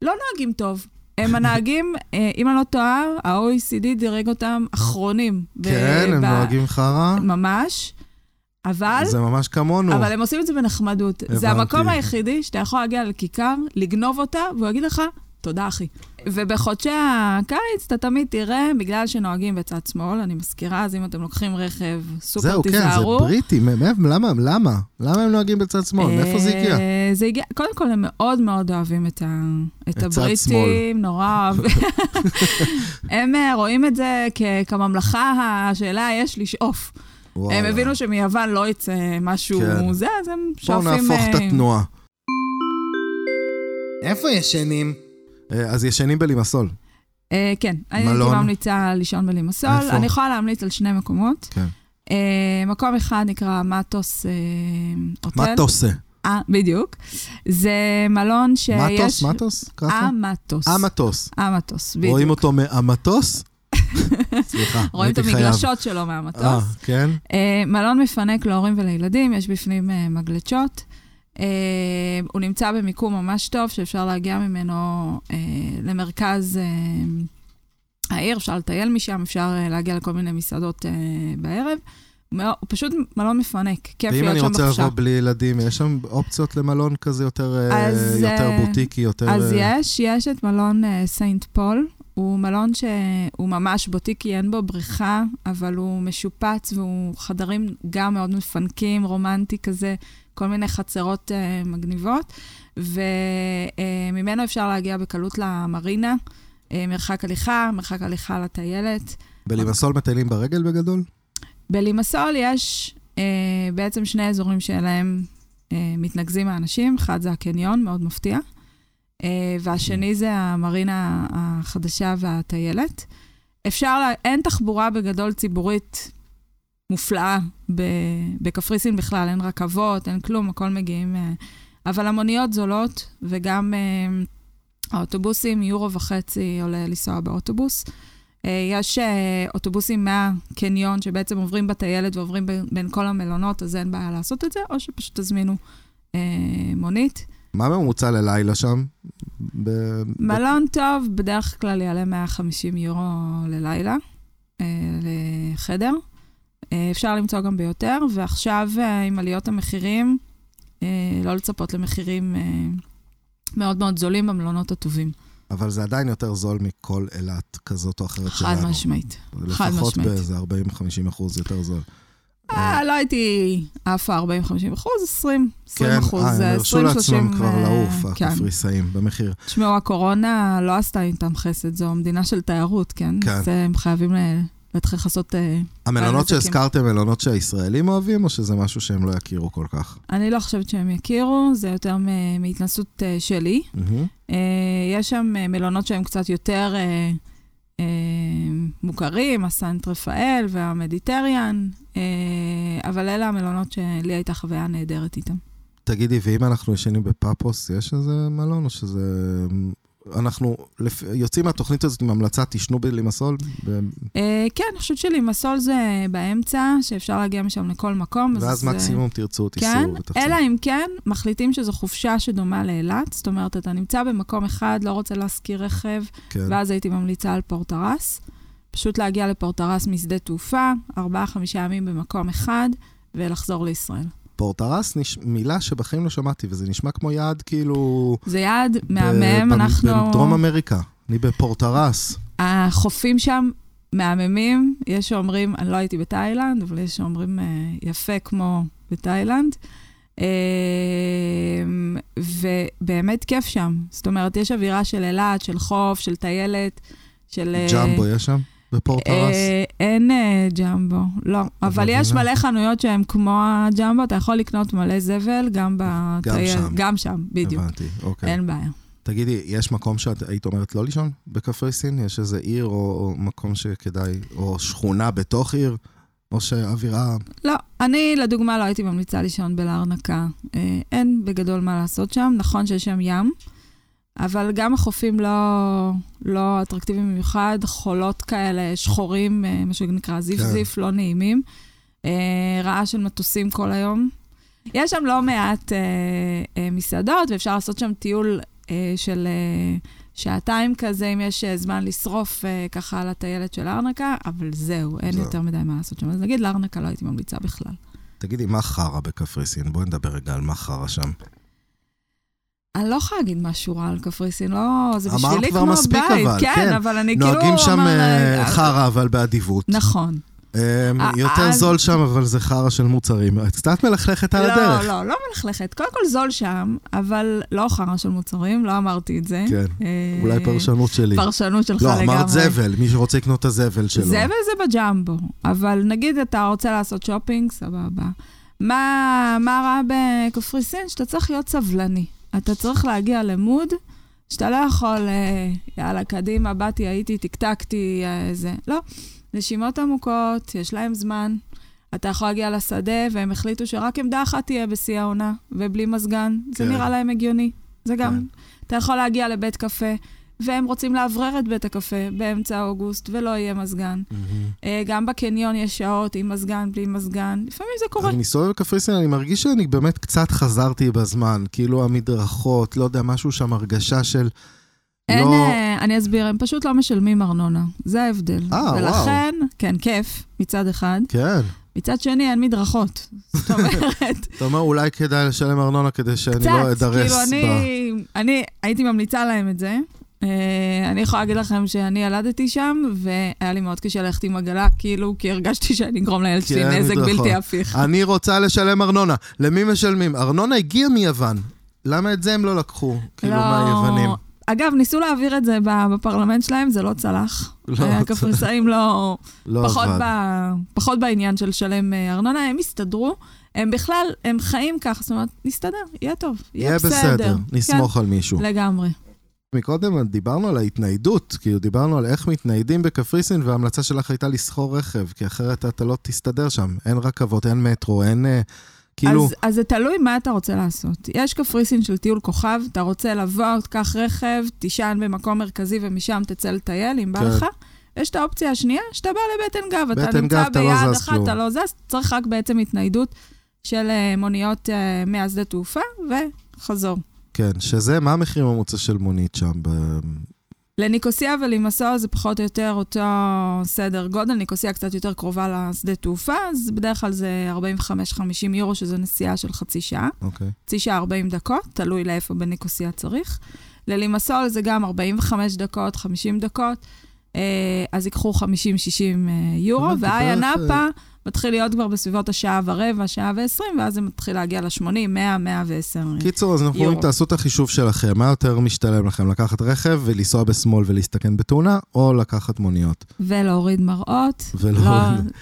[SPEAKER 2] לא נוהגים טוב. הם הנהגים, אה, אם אני לא טועה, ה-OECD דירג אותם אחרונים. ב-
[SPEAKER 1] כן, הם
[SPEAKER 2] ב-
[SPEAKER 1] נוהגים חרא.
[SPEAKER 2] ממש, אבל...
[SPEAKER 1] זה ממש כמונו.
[SPEAKER 2] אבל הם עושים את זה בנחמדות. זה
[SPEAKER 1] הבנתי.
[SPEAKER 2] המקום היחידי שאתה יכול להגיע לכיכר, לגנוב אותה, והוא יגיד לך, תודה, אחי. ובחודשי הקיץ אתה תמיד תראה, בגלל שנוהגים בצד שמאל, אני מזכירה, אז אם אתם לוקחים רכב, סופר
[SPEAKER 1] זהו, כן, זה
[SPEAKER 2] תיזהרו.
[SPEAKER 1] בריטי. מ- מ- למה? למה? למה הם נוהגים בצד שמאל? מאיפה זה הגיע?
[SPEAKER 2] אה, זה הגיע, קודם כל, הם מאוד מאוד אוהבים את, ה, את
[SPEAKER 1] צד שמאל.
[SPEAKER 2] הבריטים, נורא אוהבים. הם אה, רואים את זה כ- כממלכה, השאלה יש לשאוף. הם
[SPEAKER 1] וואלה.
[SPEAKER 2] הבינו שמיוון לא יצא משהו
[SPEAKER 1] כן.
[SPEAKER 2] זה, אז הם
[SPEAKER 1] בואו
[SPEAKER 2] שואפים...
[SPEAKER 1] נהפוך את
[SPEAKER 2] אה,
[SPEAKER 1] התנועה.
[SPEAKER 3] איפה ישנים?
[SPEAKER 1] אה, אז ישנים בלימסול.
[SPEAKER 2] אה, כן, אני הייתי
[SPEAKER 1] מלון?
[SPEAKER 2] ממליצה לישון בלימסול.
[SPEAKER 1] איפה?
[SPEAKER 2] אני יכולה להמליץ על שני מקומות.
[SPEAKER 1] כן.
[SPEAKER 2] אה, מקום אחד נקרא מטוס אה, הוטל.
[SPEAKER 1] מה אתה עושה?
[SPEAKER 2] אה, בדיוק. זה מלון שיש...
[SPEAKER 1] מטוס? מטוס? ככה?
[SPEAKER 2] המטוס.
[SPEAKER 1] המטוס.
[SPEAKER 2] המטוס, בדיוק.
[SPEAKER 1] רואים אותו מהמטוס? סליחה,
[SPEAKER 2] רואים את
[SPEAKER 1] הייתי חייב.
[SPEAKER 2] המגלשות שלו מהמטוס.
[SPEAKER 1] אה, כן?
[SPEAKER 2] אה, מלון מפנק להורים ולילדים, יש בפנים אה, מגלשות. אה, הוא נמצא במיקום ממש טוב, שאפשר להגיע ממנו אה, למרכז אה, העיר, אפשר לטייל משם, אפשר אה, להגיע לכל מיני מסעדות אה, בערב. הוא מאוד- הוא פשוט מלון מפנק, כיף
[SPEAKER 1] ואם
[SPEAKER 2] להיות
[SPEAKER 1] אני
[SPEAKER 2] שם
[SPEAKER 1] רוצה
[SPEAKER 2] בחופשה.
[SPEAKER 1] לבוא בלי ילדים, יש שם אופציות למלון כזה יותר אה,
[SPEAKER 2] אז,
[SPEAKER 1] יותר
[SPEAKER 2] אה,
[SPEAKER 1] בוטיקי, יותר...
[SPEAKER 2] אז
[SPEAKER 1] אה,
[SPEAKER 2] יש, יש את מלון אה, סיינט פול. הוא מלון שהוא ממש בוטיקי, אין בו בריכה, אבל הוא משופץ והוא חדרים גם מאוד מפנקים, רומנטי כזה, כל מיני חצרות אה, מגניבות. וממנו אפשר להגיע בקלות למרינה, אה, מרחק הליכה, מרחק הליכה לטיילת.
[SPEAKER 1] בלימסול מטיילים ברגל בגדול?
[SPEAKER 2] בלימסול יש אה, בעצם שני אזורים שאליהם אה, מתנקזים האנשים, אחד זה הקניון, מאוד מפתיע, אה, והשני זה המרינה החדשה והטיילת. אפשר, לה, אין תחבורה בגדול ציבורית מופלאה ב- בקפריסין בכלל, אין רכבות, אין כלום, הכל מגיעים. אה, אבל המוניות זולות, וגם אה, האוטובוסים, יורו וחצי עולה לנסוע באוטובוס. אה, יש אה, אוטובוסים מהקניון שבעצם עוברים בטיילת ועוברים בין, בין כל המלונות, אז אין בעיה לעשות את זה, או שפשוט תזמינו אה, מונית.
[SPEAKER 1] מה הממוצע ללילה שם? ב-
[SPEAKER 2] מלון טוב בדרך כלל יעלה 150 יורו ללילה, אה, לחדר. אה, אפשר למצוא גם ביותר, ועכשיו אה, עם עליות המחירים, אה, לא לצפות למחירים אה, מאוד מאוד זולים במלונות הטובים.
[SPEAKER 1] אבל זה עדיין יותר זול מכל אילת כזאת או אחרת שלנו.
[SPEAKER 2] חד משמעית. חד
[SPEAKER 1] לפחות
[SPEAKER 2] משמעית.
[SPEAKER 1] באיזה 40-50 אחוז יותר זול.
[SPEAKER 2] אה, לא הייתי עפה 40-50 אחוז, 20, 20 אחוז,
[SPEAKER 1] אה, הם
[SPEAKER 2] 20-30.
[SPEAKER 1] הרשו לעצמם כבר
[SPEAKER 2] אה,
[SPEAKER 1] לעוף,
[SPEAKER 2] כן.
[SPEAKER 1] הקפריסאים, במחיר.
[SPEAKER 2] תשמעו, הקורונה לא עשתה איתם חסד, זו מדינה של תיירות, כן?
[SPEAKER 1] כן.
[SPEAKER 2] אז אה, הם חייבים ל- להתחיל לעשות... אה,
[SPEAKER 1] המלונות
[SPEAKER 2] הנזקים.
[SPEAKER 1] שהזכרתם, מלונות שהישראלים אוהבים, או שזה משהו שהם לא יכירו כל כך?
[SPEAKER 2] אני לא חושבת שהם יכירו, זה יותר מ- מהתנסות אה, שלי.
[SPEAKER 1] מהמם.
[SPEAKER 2] אה, יש שם אה, מלונות שהם קצת יותר אה, אה, מוכרים, הסנט רפאל והמדיטריאן, אה, אבל אלה המלונות שלי הייתה חוויה נהדרת איתם.
[SPEAKER 1] תגידי, ואם אנחנו ישנים בפאפוס, יש איזה מלון, או שזה אנחנו לפ... יוצאים מהתוכנית הזאת עם המלצה, תשנו בלימסול. ו...
[SPEAKER 2] אה, כן, אני חושבת שלימסול זה באמצע, שאפשר להגיע משם לכל מקום. אז
[SPEAKER 1] ואז
[SPEAKER 2] זה-
[SPEAKER 1] מקסימום תרצו, תיסעו
[SPEAKER 2] כן,
[SPEAKER 1] ותחזרו.
[SPEAKER 2] אלא אם כן, מחליטים שזו חופשה שדומה לאילת. זאת אומרת, אתה נמצא במקום אחד, לא רוצה להשכיר רכב,
[SPEAKER 1] כן.
[SPEAKER 2] ואז הייתי ממליצה על פורטרס. פשוט להגיע לפורטרס משדה תעופה, ארבעה-חמישה ימים במקום אחד, ולחזור לישראל.
[SPEAKER 1] פורטרס, נש... מילה שבחיים לא שמעתי, וזה נשמע כמו יעד כאילו...
[SPEAKER 2] זה יעד
[SPEAKER 1] ב-
[SPEAKER 2] מהמם,
[SPEAKER 1] ב-
[SPEAKER 2] אנחנו...
[SPEAKER 1] בדרום אמריקה, אני בפורטרס.
[SPEAKER 2] החופים שם מהממים, יש שאומרים, אני לא הייתי בתאילנד, אבל יש שאומרים אה, יפה כמו בתאילנד. אה, ובאמת כיף שם. זאת אומרת, יש אווירה של אילת, של חוף, של טיילת, של... אה,
[SPEAKER 1] ג'מבו יש שם? בפורטרס?
[SPEAKER 2] אה, אין אה, ג'מבו, לא. אבל יש
[SPEAKER 1] מבינה.
[SPEAKER 2] מלא חנויות שהן כמו הג'מבו, אתה יכול לקנות מלא זבל גם בטייל.
[SPEAKER 1] שם.
[SPEAKER 2] גם שם, בדיוק.
[SPEAKER 1] הבנתי, אוקיי.
[SPEAKER 2] אין בעיה.
[SPEAKER 1] תגידי, יש מקום שאת היית אומרת לא לישון בקפריסין? יש איזה עיר או או מקום שכדאי, או שכונה בתוך עיר, או שאווירה...
[SPEAKER 2] לא, אני לדוגמה לא הייתי ממליצה לישון בלארנקה. אה, אין בגדול מה לעשות שם, נכון שיש שם ים, אבל גם החופים לא, לא אטרקטיביים במיוחד, חולות כאלה, שחורים, אה, מה שנקרא זיפזיף, לא נעימים. אה, רעש של מטוסים כל היום. יש שם לא מעט אה, אה, מסעדות, ואפשר לעשות שם טיול אה, של אה, שעתיים כזה, אם יש אה, זמן לשרוף אה, ככה על הטיילת של ארנקה, אבל זהו, אין
[SPEAKER 1] זהו.
[SPEAKER 2] יותר מדי מה לעשות שם. אז נגיד לארנקה לא הייתי ממליצה בכלל.
[SPEAKER 1] תגידי, מה חרא בקפריסין? בואי נדבר רגע על מה חרא שם.
[SPEAKER 2] אני לא יכולה להגיד משהו רע על קפריסין, לא, זה
[SPEAKER 1] אמרת
[SPEAKER 2] בשבילי
[SPEAKER 1] כבר
[SPEAKER 2] כמו
[SPEAKER 1] מספיק,
[SPEAKER 2] בית.
[SPEAKER 1] אבל,
[SPEAKER 2] כן,
[SPEAKER 1] כן.
[SPEAKER 2] אבל אני כאילו...
[SPEAKER 1] נוהגים שם
[SPEAKER 2] אומר,
[SPEAKER 1] אה,
[SPEAKER 2] אה,
[SPEAKER 1] חרא, אבל באדיבות.
[SPEAKER 2] נכון.
[SPEAKER 1] אה,
[SPEAKER 2] אה,
[SPEAKER 1] יותר
[SPEAKER 2] אה,
[SPEAKER 1] זול שם, אבל זה חרא של מוצרים. את קצת מלכלכת על הדרך.
[SPEAKER 2] לא, לא, לא מלכלכת. קודם כל זול שם, אבל לא חרא של מוצרים, לא אמרתי את זה.
[SPEAKER 1] כן,
[SPEAKER 2] אה,
[SPEAKER 1] אולי פרשנות שלי.
[SPEAKER 2] פרשנות שלך
[SPEAKER 1] לא,
[SPEAKER 2] לגמרי.
[SPEAKER 1] אמרת זבל, מי שרוצה לקנות את הזבל שלו.
[SPEAKER 2] זבל זה בג'מבו, אבל נגיד אתה רוצה לעשות שופינג, סבבה. מה, מה רע בקפריסין? שאתה צריך להיות סבלני. אתה צריך להגיע למוד שאתה לא יכול, אה, יאללה, קדימה, באתי, הייתי, טקטקתי, אה, זה. לא. נשימות עמוקות, יש להם זמן. אתה יכול להגיע לשדה, והם החליטו שרק עמדה אחת תהיה בשיא העונה, ובלי מזגן. זה
[SPEAKER 1] כן.
[SPEAKER 2] נראה להם הגיוני. זה גם...
[SPEAKER 1] כן.
[SPEAKER 2] אתה יכול להגיע לבית קפה, והם רוצים לאוורר את בית הקפה באמצע אוגוסט, ולא יהיה מזגן.
[SPEAKER 1] מהמם.
[SPEAKER 2] אה, גם בקניון יש שעות עם מזגן, בלי מזגן. לפעמים זה קורה.
[SPEAKER 1] אני מסתובב בקפריסין, אני מרגיש שאני באמת קצת חזרתי בזמן. כאילו המדרכות, לא יודע, משהו שם, הרגשה של...
[SPEAKER 2] אין,
[SPEAKER 1] לא...
[SPEAKER 2] אה, אני אסביר, הם פשוט לא משלמים ארנונה. זה ההבדל.
[SPEAKER 1] אה, וואו.
[SPEAKER 2] ולכן, כן, כיף מצד אחד.
[SPEAKER 1] כן. לא
[SPEAKER 2] מצד שני, אין מדרכות. זאת אומרת,
[SPEAKER 1] אתה אומר, אולי כדאי לשלם ארנונה כדי שאני
[SPEAKER 2] קצת,
[SPEAKER 1] לא אדרס.
[SPEAKER 2] כאילו אני,
[SPEAKER 1] ב-
[SPEAKER 2] אני הייתי ממליצה להם את זה. אה, אני יכולה להגיד לכם שאני ילדתי שם, והיה לי מאוד קשה ללכת עם עגלה, כאילו, כי הרגשתי שאני אגרום לילד שלי
[SPEAKER 1] כן,
[SPEAKER 2] נזק
[SPEAKER 1] מדרכות.
[SPEAKER 2] בלתי הפיך.
[SPEAKER 1] אני רוצה לשלם ארנונה. למי משלמים? ארנונה הגיעה מיוון. למה את זה הם לא לקחו? כאילו,
[SPEAKER 2] לא.
[SPEAKER 1] מהיוונים.
[SPEAKER 2] אגב, ניסו להעביר את זה ב- בפרלמנט שלהם, זה לא צלח.
[SPEAKER 1] לא,
[SPEAKER 2] אה, הקפריסאים לא...
[SPEAKER 1] לא
[SPEAKER 2] פחות, ב,
[SPEAKER 1] עבד.
[SPEAKER 2] פחות בעניין של לשלם אה, ארנונה, הם הסתדרו, הם בכלל, הם חיים כך, זאת אומרת, נסתדר, יהיה טוב, יהיה,
[SPEAKER 1] יהיה בסדר,
[SPEAKER 2] כן,
[SPEAKER 1] נסמוך על מישהו.
[SPEAKER 2] לגמרי.
[SPEAKER 1] מקודם דיברנו על ההתניידות, כאילו דיברנו על איך מתניידים בקפריסין, וההמלצה שלך הייתה לסחור רכב, כי אחרת אתה לא תסתדר שם. אין רכבות, אין מטרו, אין... אה, כאילו,
[SPEAKER 2] אז, אז זה תלוי מה אתה רוצה לעשות. יש קפריסין של טיול כוכב, אתה רוצה לבוא, תקח רכב, תישן במקום מרכזי ומשם תצא לטייל, אם בא
[SPEAKER 1] כן.
[SPEAKER 2] לך. יש את האופציה השנייה, שאתה בא לבטן גב,
[SPEAKER 1] בטן
[SPEAKER 2] אתה נמצא
[SPEAKER 1] גב, אתה לא
[SPEAKER 2] ביעד
[SPEAKER 1] זז
[SPEAKER 2] אחד,
[SPEAKER 1] כלום.
[SPEAKER 2] אתה לא זז, צריך רק בעצם התניידות של אה, מוניות אה, מהשדה תעופה וחזור.
[SPEAKER 1] כן, שזה, מה המחיר הממוצע של מונית שם? ב...
[SPEAKER 2] לניקוסיה ולמסור זה פחות או יותר אותו סדר גודל, ניקוסיה קצת יותר קרובה לשדה תעופה, אז בדרך כלל זה 45-50 יורו, שזה נסיעה של חצי שעה.
[SPEAKER 1] אוקיי.
[SPEAKER 2] חצי שעה 40 דקות, תלוי לאיפה בניקוסיה צריך. ללימסול זה גם 45 דקות, 50 דקות, אה, אז ייקחו 50-60 אה, יורו,
[SPEAKER 1] הבנתי,
[SPEAKER 2] ואיה
[SPEAKER 1] בערך, אה,
[SPEAKER 2] נאפה מתחיל להיות כבר בסביבות השעה ורבע, שעה ועשרים, ואז זה מתחיל להגיע ל-80, 100, 110.
[SPEAKER 1] קיצור, אז אנחנו
[SPEAKER 2] יורו.
[SPEAKER 1] אומרים, תעשו את החישוב שלכם, מה יותר משתלם לכם, לקחת רכב ולנסוע בשמאל ולהסתכן בתאונה, או לקחת מוניות?
[SPEAKER 2] ולהוריד מראות.
[SPEAKER 1] ולא-
[SPEAKER 2] לא,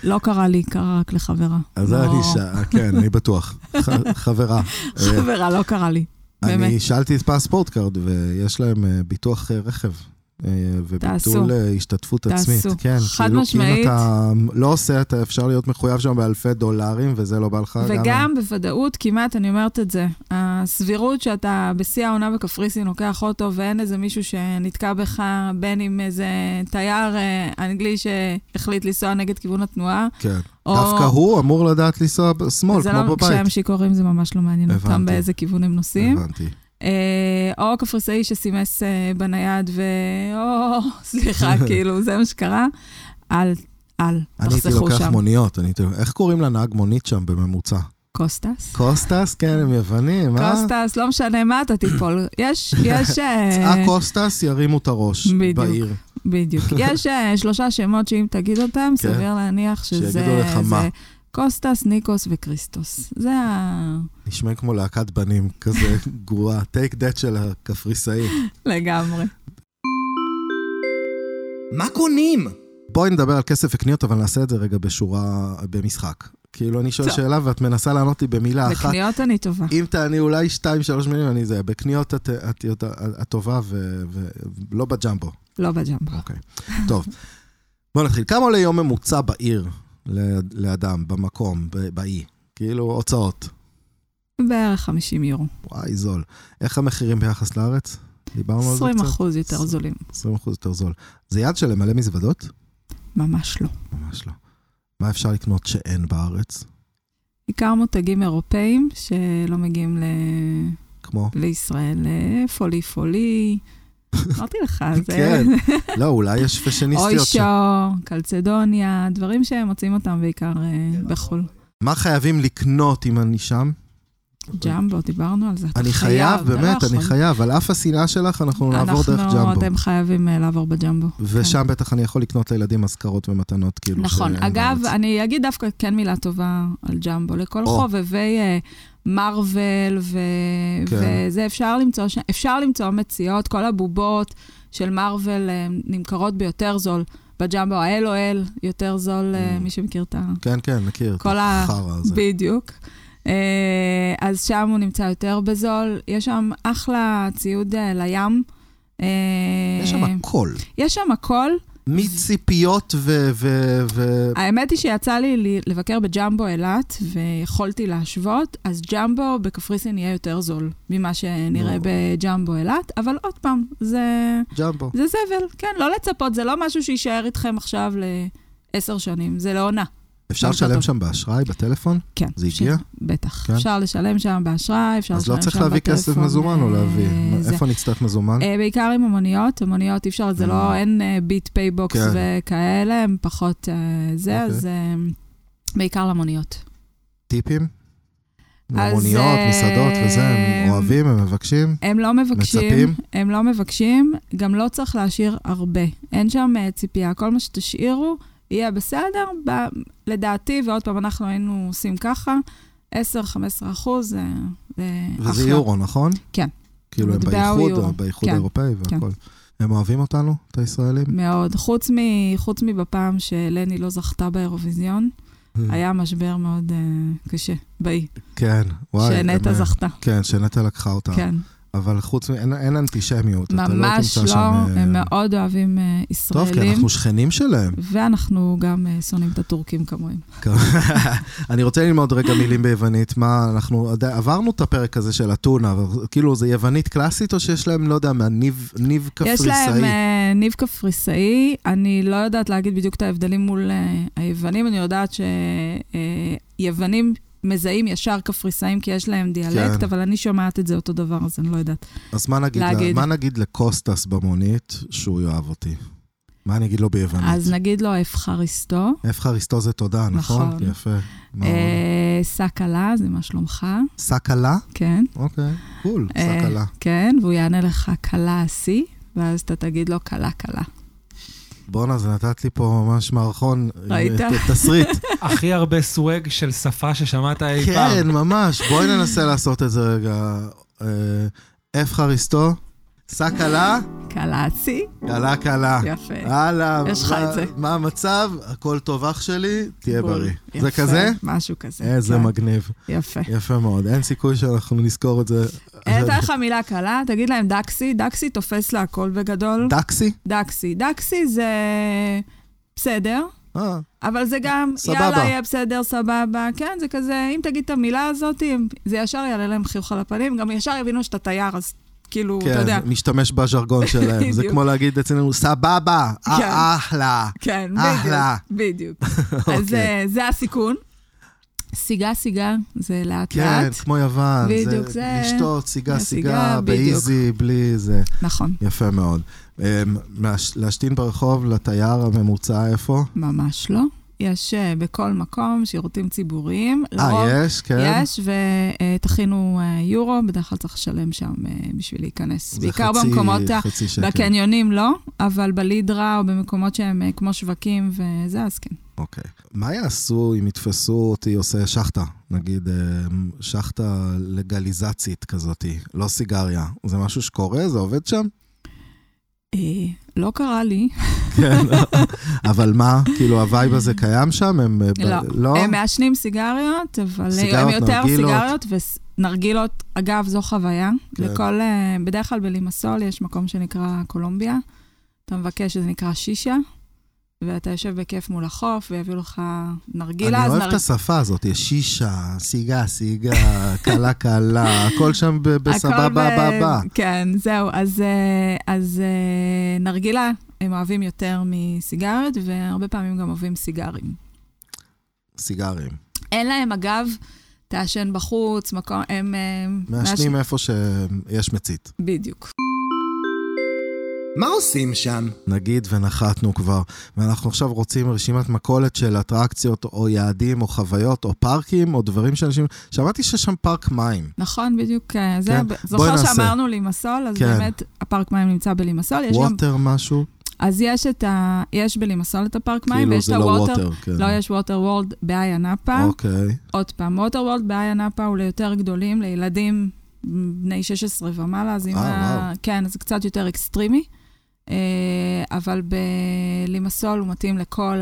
[SPEAKER 2] לא קרה לי, קרה רק לחברה.
[SPEAKER 1] אז זה
[SPEAKER 2] לא-
[SPEAKER 1] אני ש... כן, אני בטוח. ח- חברה. אה,
[SPEAKER 2] חברה, לא קרה לי. באמת.
[SPEAKER 1] אני שאלתי את פספורט קארד, ויש להם אה, ביטוח אה, רכב. אה,
[SPEAKER 2] תעשו.
[SPEAKER 1] וביטול אה, השתתפות
[SPEAKER 2] תעשו.
[SPEAKER 1] עצמית. כן,
[SPEAKER 2] חד
[SPEAKER 1] כאילו,
[SPEAKER 2] משמעית.
[SPEAKER 1] אם אתה לא עושה, אתה אפשר להיות מחויב שם באלפי דולרים, וזה לא בא לך.
[SPEAKER 2] וגם בוודאות, כמעט, אני אומרת את זה, הסבירות שאתה בשיא העונה בקפריסין לוקח אוטו ואין איזה מישהו שנתקע בך, בין אם איזה תייר אה, אנגלי שהחליט לנסוע נגד כיוון התנועה,
[SPEAKER 1] כן.
[SPEAKER 2] או...
[SPEAKER 1] דווקא הוא אמור לדעת לנסוע ב- שמאל,
[SPEAKER 2] זה
[SPEAKER 1] כמו
[SPEAKER 2] לא,
[SPEAKER 1] בבית.
[SPEAKER 2] כשהם שיכורים זה ממש לא מעניין אותם
[SPEAKER 1] הבנתי.
[SPEAKER 2] באיזה כיוון הם נוסעים.
[SPEAKER 1] הבנתי.
[SPEAKER 2] אה, או קפריסאי שסימס אה, בנייד ו... או, סליחה, כאילו, זה מה שקרה. אל, אל,
[SPEAKER 1] אני הייתי
[SPEAKER 2] תחסכו
[SPEAKER 1] לוקח
[SPEAKER 2] שם.
[SPEAKER 1] מוניות, אני הייתי... איך קוראים לנהג מונית שם בממוצע?
[SPEAKER 2] קוסטס?
[SPEAKER 1] קוסטס? כן, הם יוונים, אה?
[SPEAKER 2] קוסטס, לא משנה מה אתה תיפול. יש, יש... אה,
[SPEAKER 1] אה, קוסטס ירימו את הראש
[SPEAKER 2] בדיוק.
[SPEAKER 1] בעיר.
[SPEAKER 2] בדיוק. יש אה, שלושה שמות שאם תגיד אותם,
[SPEAKER 1] כן.
[SPEAKER 2] סביר להניח שזה...
[SPEAKER 1] שיגידו לך מה.
[SPEAKER 2] זה קוסטס, ניקוס וקריסטוס. זה ה...
[SPEAKER 1] נשמע כמו להקת בנים, כזה גרועה. טייק דאט של הקפריסאי.
[SPEAKER 2] לגמרי.
[SPEAKER 3] מה קונים?
[SPEAKER 1] בואי נדבר על כסף וקניות, אבל נעשה את זה רגע בשורה, במשחק. כאילו, אני שואל
[SPEAKER 2] טוב.
[SPEAKER 1] שאלה ואת מנסה לענות לי במילה אחת.
[SPEAKER 2] לקניות אני טובה.
[SPEAKER 1] אם תעני אולי שתיים, שלוש מילים, אני זה. בקניות את- את יודעת- את טובה ו- ולא בג'מבו.
[SPEAKER 2] לא בג'מבו.
[SPEAKER 1] אוקיי. טוב. בוא נתחיל. כמה עולה יום ממוצע בעיר ל- לאדם, במקום, ב- באי? כאילו, הוצאות.
[SPEAKER 2] בערך 50 יורו.
[SPEAKER 1] וואי, זול. איך המחירים ביחס לארץ? דיברנו על זה
[SPEAKER 2] 20
[SPEAKER 1] קצת?
[SPEAKER 2] אחוז יותר
[SPEAKER 1] עשרים.
[SPEAKER 2] זולים.
[SPEAKER 1] 20 אחוז יותר זול. זה יד של למלא מזוודות?
[SPEAKER 2] ממש לא.
[SPEAKER 1] ממש לא. מה אפשר לקנות שאין בארץ?
[SPEAKER 2] בעיקר מותגים אירופאים שלא מגיעים ל...
[SPEAKER 1] כמו?
[SPEAKER 2] לישראל. אה, פולי פולי, אמרתי לך, זה...
[SPEAKER 1] כן. לא, אולי יש פשניסטיות
[SPEAKER 2] אוישו,
[SPEAKER 1] שם.
[SPEAKER 2] קלצדוניה, דברים שהם מוצאים אותם בעיקר
[SPEAKER 1] כן,
[SPEAKER 2] אה,
[SPEAKER 1] נכון.
[SPEAKER 2] בחו"ל.
[SPEAKER 1] מה חייבים לקנות אם אני שם?
[SPEAKER 2] ג'מבו, דיברנו על זה. אתה
[SPEAKER 1] נכון. אני חייב,
[SPEAKER 2] אתה לא
[SPEAKER 1] באמת,
[SPEAKER 2] יכול.
[SPEAKER 1] אני חייב. על אף השנאה שלך, אנחנו נעבור דרך
[SPEAKER 2] אנחנו,
[SPEAKER 1] ג'מבו.
[SPEAKER 2] אתם חייבים אה, לעבור בג'מבו. כן.
[SPEAKER 1] ושם בטח אני יכול לקנות לילדים אזכרות ומתנות, כאילו.
[SPEAKER 2] נכון.
[SPEAKER 1] שאין
[SPEAKER 2] אגב,
[SPEAKER 1] בארץ.
[SPEAKER 2] אני אגיד דווקא כן מילה טובה על ג'מבו. לכל
[SPEAKER 1] או.
[SPEAKER 2] חובבי אה, מארוול ו...
[SPEAKER 1] כן.
[SPEAKER 2] וזה, אפשר למצוא, ש... אפשר למצוא מציאות, כל הבובות של מארוול אה, נמכרות ביותר זול. בג'מבו האל-או-אל יותר זול, אה,
[SPEAKER 1] Mm.
[SPEAKER 2] מי שמכיר את ה...
[SPEAKER 1] כן, כן, מכיר. את
[SPEAKER 2] כל ה-
[SPEAKER 1] החרא הזה.
[SPEAKER 2] בדיוק. אה, אז שם הוא נמצא יותר בזול. יש שם אחלה ציוד אה, לים. אה,
[SPEAKER 1] יש שם הכל.
[SPEAKER 2] יש שם הכל.
[SPEAKER 1] מציפיות ו... ו- ו-
[SPEAKER 2] האמת היא שיצא לי ל- לבקר בג'מבו אילת, ויכולתי להשוות, אז ג'מבו בקפריסין יהיה יותר זול ממה שנראה
[SPEAKER 1] נו.
[SPEAKER 2] בג'מבו אילת, אבל עוד פעם, זה,
[SPEAKER 1] ג'מבו.
[SPEAKER 2] זה זבל, כן, לא לצפות, זה לא משהו שיישאר איתכם עכשיו לעשר שנים, זה לעונה.
[SPEAKER 1] אפשר
[SPEAKER 2] לא
[SPEAKER 1] לשלם
[SPEAKER 2] טוב.
[SPEAKER 1] שם באשראי, בטלפון?
[SPEAKER 2] כן.
[SPEAKER 1] זה הגיע?
[SPEAKER 2] ש- בטח.
[SPEAKER 1] כן.
[SPEAKER 2] אפשר לשלם שם באשראי, אפשר לשלם
[SPEAKER 1] אז
[SPEAKER 2] שם
[SPEAKER 1] לא
[SPEAKER 2] בטלפון.
[SPEAKER 1] צריך להביא כסף מזומן או
[SPEAKER 2] אה,
[SPEAKER 1] להביא. מה,
[SPEAKER 2] זה.
[SPEAKER 1] איפה נצטרך מזומן?
[SPEAKER 2] אה, בעיקר עם המוניות, המוניות אי אפשר, זה לא,
[SPEAKER 1] אה.
[SPEAKER 2] אין אה, ביט פייבוקס
[SPEAKER 1] כן.
[SPEAKER 2] וכאלה, הם פחות אה, זה,
[SPEAKER 1] אוקיי.
[SPEAKER 2] אז אה, בעיקר למוניות.
[SPEAKER 1] טיפים?
[SPEAKER 2] אז,
[SPEAKER 1] מוניות,
[SPEAKER 2] אה,
[SPEAKER 1] מסעדות וזה, הם אוהבים, הם מבקשים.
[SPEAKER 2] הם לא מבקשים,
[SPEAKER 1] מצפים?
[SPEAKER 2] הם לא מבקשים, גם לא צריך להשאיר הרבה. אין שם אה, ציפייה, כל מה שתשאירו יהיה בסדר, ב, לדעתי, ועוד פעם, אנחנו היינו עושים ככה, 10-15 אחוז, אה, זה אחלה.
[SPEAKER 1] וזה יורו, נכון?
[SPEAKER 2] כן.
[SPEAKER 1] כאילו הם
[SPEAKER 2] המטבע הוא
[SPEAKER 1] באיחוד,
[SPEAKER 2] יורו.
[SPEAKER 1] או באיחוד
[SPEAKER 2] כן,
[SPEAKER 1] האירופאי והכל. הם אוהבים אותנו, את הישראלים?
[SPEAKER 2] מאוד. חוץ, מ, חוץ מבפעם שלני לא זכתה באירוויזיון,
[SPEAKER 1] Mm.
[SPEAKER 2] היה משבר מאוד uh, קשה, באי,
[SPEAKER 1] כן, וואי.
[SPEAKER 2] שנטע
[SPEAKER 1] הם-
[SPEAKER 2] זכתה.
[SPEAKER 1] כן, שנטע לקחה אותה.
[SPEAKER 2] כן,
[SPEAKER 1] אבל חוץ מ... אין- אין אנטישמיות. אתה
[SPEAKER 2] ממש
[SPEAKER 1] תמצא
[SPEAKER 2] לא,
[SPEAKER 1] שם, אה,
[SPEAKER 2] הם מאוד אוהבים אה,
[SPEAKER 1] טוב, כי
[SPEAKER 2] ישראלים,
[SPEAKER 1] אנחנו שכנים שלהם.
[SPEAKER 2] ואנחנו גם אה, שונאים את הטורקים כמוהם.
[SPEAKER 1] אני רוצה ללמוד רגע מילים ביוונית. מה, אנחנו עד- עברנו את הפרק הזה של אתונה, אבל כאילו, זה יוונית קלאסית, או שיש להם, לא יודע, מה, ניב ניב
[SPEAKER 2] יש להם
[SPEAKER 1] קפריסאי?
[SPEAKER 2] אה, ניב קפריסאי, אני לא יודעת להגיד בדיוק את ההבדלים מול אה, היוונים, אני יודעת שיוונים מזהים ישר קפריסאים כי יש להם דיאלקט,
[SPEAKER 1] כן.
[SPEAKER 2] אבל אני שומעת את זה אותו דבר, אז אני לא יודעת.
[SPEAKER 1] אז מה נגיד,
[SPEAKER 2] להגיד.
[SPEAKER 1] מה נגיד לקוסטס במונית שהוא יאהב אותי? מה אני אגיד לו ביוונית?
[SPEAKER 2] אז נגיד לו אפחריסטו.
[SPEAKER 1] אפחריסטו זה תודה, נכון?
[SPEAKER 2] נכון.
[SPEAKER 1] יפה. מה עוד?
[SPEAKER 2] אה, סקלה, זה מה שלומך,
[SPEAKER 1] סקלה?
[SPEAKER 2] כן.
[SPEAKER 1] אוקיי, קול,
[SPEAKER 2] אה,
[SPEAKER 1] סקלה.
[SPEAKER 2] כן, והוא יענה לך קלה השיא, ואז אתה תגיד לו קלה קלה.
[SPEAKER 1] בואנה, זה נתת לי פה ממש מערכון.
[SPEAKER 2] ראית?
[SPEAKER 1] אה, ת- תסריט.
[SPEAKER 5] הכי הרבה סוואג של שפה ששמעת אי פעם.
[SPEAKER 1] כן, ממש. בואי ננסה לעשות את זה רגע. אה, אפחריסטו, סקלה,
[SPEAKER 2] קלה השיא,
[SPEAKER 1] קלה קלה.
[SPEAKER 2] יפה.
[SPEAKER 1] הלאה,
[SPEAKER 2] יש לך
[SPEAKER 1] מה-
[SPEAKER 2] את זה.
[SPEAKER 1] מה המצב? הכל טוב אח שלי, תהיה
[SPEAKER 2] בול.
[SPEAKER 1] בריא.
[SPEAKER 2] יפה,
[SPEAKER 1] זה אה, כזה?
[SPEAKER 2] משהו כזה.
[SPEAKER 1] איזה
[SPEAKER 2] כן,
[SPEAKER 1] מגניב.
[SPEAKER 2] יפה.
[SPEAKER 1] יפה מאוד. אין סיכוי שאנחנו נזכור את זה
[SPEAKER 2] הייתה לך מילה קלה, תגיד להם דקסי, דקסי תופס לה הכל בגדול.
[SPEAKER 1] דקסי?
[SPEAKER 2] דקסי. דקסי זה בסדר,
[SPEAKER 1] אה,
[SPEAKER 2] אבל זה גם,
[SPEAKER 1] סבבה.
[SPEAKER 2] יאללה, יהיה בסדר, סבבה. כן, זה כזה, אם תגיד את המילה הזאת, אם- זה ישר יעלה להם חיוך על הפנים, גם ישר יבינו שאתה תייר, אז כאילו, אתה יודע.
[SPEAKER 1] כן, משתמש בז'רגון שלהם. זה
[SPEAKER 2] בדיוק.
[SPEAKER 1] כמו להגיד אצלנו, סבבה,
[SPEAKER 2] כן.
[SPEAKER 1] אה, אחלה.
[SPEAKER 2] כן,
[SPEAKER 1] אחלה.
[SPEAKER 2] בדיוק. בדיוק. אז אה,
[SPEAKER 1] אוקיי.
[SPEAKER 2] זה הסיכון. סיגה, סיגה, זה
[SPEAKER 1] כן,
[SPEAKER 2] לאט-לאט.
[SPEAKER 1] כמו יוון.
[SPEAKER 2] בדיוק, זה-
[SPEAKER 1] לשתות, סיגה,
[SPEAKER 2] זה
[SPEAKER 1] סיגה,
[SPEAKER 2] סיגה, בדיוק.
[SPEAKER 1] באיזי, בלי זה.
[SPEAKER 2] נכון,
[SPEAKER 1] יפה מאוד. אמ, להש- להשתין ברחוב לתייר הממוצע איפה?
[SPEAKER 2] ממש לא. יש אה, בכל מקום שירותים ציבוריים.
[SPEAKER 1] אה,
[SPEAKER 2] לרוב-
[SPEAKER 1] יש, כן.
[SPEAKER 2] לא. יש, ותכינו אה, יורו, בדרך כלל צריך לשלם שם אה, בשביל להיכנס.
[SPEAKER 1] זה
[SPEAKER 2] בעיקר
[SPEAKER 1] חצי-
[SPEAKER 2] במקומות, ה-
[SPEAKER 1] חצי שקל.
[SPEAKER 2] בקניונים לא, אבל בלידרה או במקומות שהם אה, כמו שווקים וזה, אז כן.
[SPEAKER 1] אוקיי. מה יעשו אם יתפסו אותי עושה שחטה? נגיד, אמ, שחטה לגליזצית כזאת, לא סיגריה. זה משהו שקורה? זה עובד שם?
[SPEAKER 2] אה, לא קרה לי.
[SPEAKER 1] כן. אבל מה, כאילו, הווייב הזה קיים שם? הם... אה, ב-
[SPEAKER 2] לא.
[SPEAKER 1] לא?
[SPEAKER 2] הם מעשנים סיגריות, אבל
[SPEAKER 1] סיגריות,
[SPEAKER 2] סיגריות, הם יותר
[SPEAKER 1] נרגילות.
[SPEAKER 2] סיגריות ונרגילות. אגב, זו חוויה.
[SPEAKER 1] כן.
[SPEAKER 2] כן. לכל, אה, בדרך כלל בלימסול יש מקום שנקרא קולומביה. אתה מבקש שזה נקרא שישה, ואתה יושב בכיף מול החוף, ויביאו לך נרגילה,
[SPEAKER 1] אני
[SPEAKER 2] אז
[SPEAKER 1] אוהב
[SPEAKER 2] נרג...
[SPEAKER 1] את השפה הזאת, יש שישה, סיגה, סיגה, קלה, קלה, הכל שם ב- בסבבה,
[SPEAKER 2] הכל
[SPEAKER 1] ב... ב...
[SPEAKER 2] כן, זהו. אז, אה, אז אה, נרגילה, הם אוהבים יותר מסיגריות, והרבה פעמים גם אוהבים סיגרים.
[SPEAKER 1] סיגרים.
[SPEAKER 2] אין להם, אגב, תעשן בחוץ, מקום, הם... אה,
[SPEAKER 1] מעשנים איפה שיש מצית.
[SPEAKER 2] בדיוק.
[SPEAKER 3] מה עושים שם?
[SPEAKER 1] נגיד ונחתנו כבר, ואנחנו עכשיו רוצים רשימת מכולת של אטרקציות או יעדים או חוויות או פארקים או דברים שאנשים... שמעתי שיש שם פארק מים.
[SPEAKER 2] נכון, בדיוק. אה, זה,
[SPEAKER 1] כן,
[SPEAKER 2] ב-
[SPEAKER 1] בואי
[SPEAKER 2] זוכר
[SPEAKER 1] נעשה.
[SPEAKER 2] שאמרנו לימסול, אז
[SPEAKER 1] כן.
[SPEAKER 2] באמת הפארק מים נמצא בלימסול. יש גם,
[SPEAKER 1] ווטר משהו?
[SPEAKER 2] אז יש את ה... יש בלימסול את הפארק מים,
[SPEAKER 1] כאילו
[SPEAKER 2] ויש
[SPEAKER 1] זה
[SPEAKER 2] את
[SPEAKER 1] לא
[SPEAKER 2] הווטר...
[SPEAKER 1] ווטר, כן.
[SPEAKER 2] לא, יש ווטר וולד באיה נאפה.
[SPEAKER 1] אוקיי.
[SPEAKER 2] עוד פעם, ווטר וולד באיה נאפה הוא ליותר גדולים, לילדים בני 16 ומעלה, אז אם...
[SPEAKER 1] אה,
[SPEAKER 2] ה-
[SPEAKER 1] וואו.
[SPEAKER 2] כן, אז זה קצת יותר אקסטרימי. אה, אבל בלימסול הוא מתאים לכל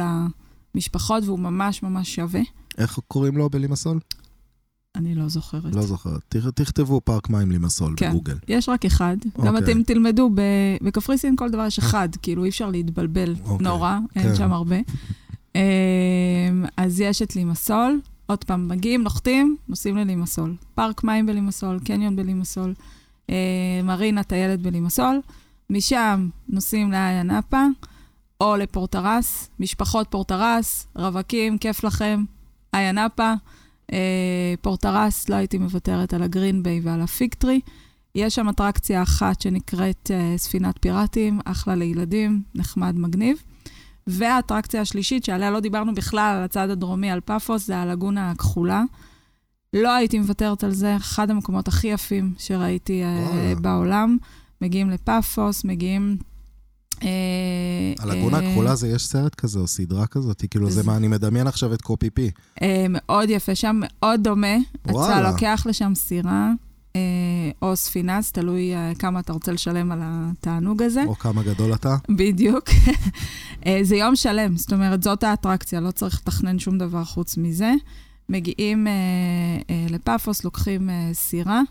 [SPEAKER 2] המשפחות, והוא ממש ממש שווה.
[SPEAKER 1] איך קוראים לו בלימסול?
[SPEAKER 2] אני לא זוכרת.
[SPEAKER 1] לא זוכר. תכ- תכתבו פארק מים לימסול
[SPEAKER 2] כן.
[SPEAKER 1] בגוגל.
[SPEAKER 2] יש רק אחד. גם
[SPEAKER 1] אוקיי.
[SPEAKER 2] אתם תלמדו, ב- בקפריסין כל דבר יש אחד, כאילו אי אפשר להתבלבל
[SPEAKER 1] אוקיי,
[SPEAKER 2] נורא,
[SPEAKER 1] כן.
[SPEAKER 2] אין שם הרבה. אמ, אז יש את לימסול, עוד פעם, מגיעים, נוחתים, נוסעים ללימסול. פארק מים בלימסול, קניון בלימסול, אה, מרינה טיילת בלימסול. משם נוסעים לאיה נאפה, או לפורטרס, משפחות פורטרס, רווקים, כיף לכם, איה נאפה. אה, פורטרס, לא הייתי מוותרת על הגרין ביי ועל הפיקטרי. יש שם אטרקציה אחת שנקראת אה, ספינת פיראטים, אחלה לילדים, נחמד, מגניב. והאטרקציה השלישית, שעליה לא דיברנו בכלל, על הצד הדרומי, על פאפוס, זה הלגונה הכחולה. לא הייתי מוותרת על זה, אחד המקומות הכי יפים שראיתי אה,
[SPEAKER 1] וואלה.
[SPEAKER 2] בעולם. מגיעים לפאפוס, מגיעים... אה,
[SPEAKER 1] הלגונה
[SPEAKER 2] אה,
[SPEAKER 1] הכחולה זה, יש סרט כזה או סדרה כזאת, כאילו זה
[SPEAKER 2] זה-
[SPEAKER 1] מה, אני מדמיין עכשיו את קופי פי.
[SPEAKER 2] אה, מאוד יפה שם, מאוד דומה.
[SPEAKER 1] וואלה.
[SPEAKER 2] אתה לוקח לשם סירה אה, או ספינה, אז תלוי אה, כמה אתה רוצה לשלם על התענוג הזה.
[SPEAKER 1] או כמה גדול אתה.
[SPEAKER 2] בדיוק. אה, זה יום שלם, זאת אומרת, זאת האטרקציה, לא צריך לתכנן שום דבר חוץ מזה. מגיעים אה, אה, לפאפוס, לוקחים אה, סירה,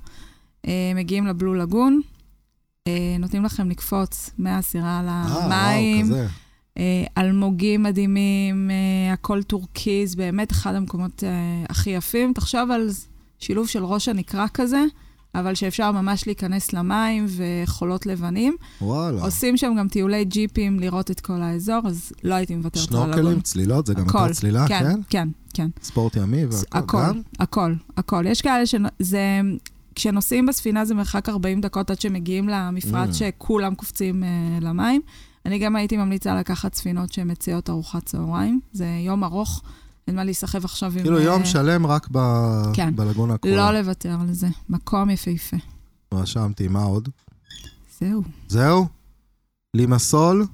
[SPEAKER 2] אה, מגיעים לבלו לגון, אה, נותנים לכם לקפוץ מהסירה
[SPEAKER 1] אה,
[SPEAKER 2] למים.
[SPEAKER 1] וואו, כזה.
[SPEAKER 2] אה, אלמוגים מדהימים, אה, הכל טורקיז, באמת אחד המקומות אה, הכי יפים. תחשוב על ז- שילוב של ראש הנקרה כזה, אבל שאפשר ממש להיכנס למים וחולות לבנים.
[SPEAKER 1] וואלה.
[SPEAKER 2] עושים שם גם טיולי ג'יפים לראות את כל האזור, אז לא הייתי מוותרת על
[SPEAKER 1] שנורקלים,
[SPEAKER 2] הלגון.
[SPEAKER 1] צלילות, זה גם
[SPEAKER 2] הכל.
[SPEAKER 1] הייתה צלילה, כן?
[SPEAKER 2] כן, כן, כן.
[SPEAKER 1] ספורט ימי והכל.
[SPEAKER 2] הכל,
[SPEAKER 1] גם?
[SPEAKER 2] הכל, הכל. יש כאלה שזה... כשנוסעים בספינה זה מרחק 40 דקות עד שמגיעים למפרט
[SPEAKER 1] Mm.
[SPEAKER 2] שכולם קופצים אה, למים. אני גם הייתי ממליצה לקחת ספינות שמציעות ארוחת צהריים. זה יום ארוך, אין מה להיסחב עכשיו עם...
[SPEAKER 1] כאילו
[SPEAKER 2] אה,
[SPEAKER 1] יום שלם רק ב-
[SPEAKER 2] כן.
[SPEAKER 1] בלגונה הכחולה.
[SPEAKER 2] לא לוותר על זה. מקום יפהפה.
[SPEAKER 1] רשמתי, מה עוד?
[SPEAKER 2] זהו.
[SPEAKER 1] זהו? לימסול,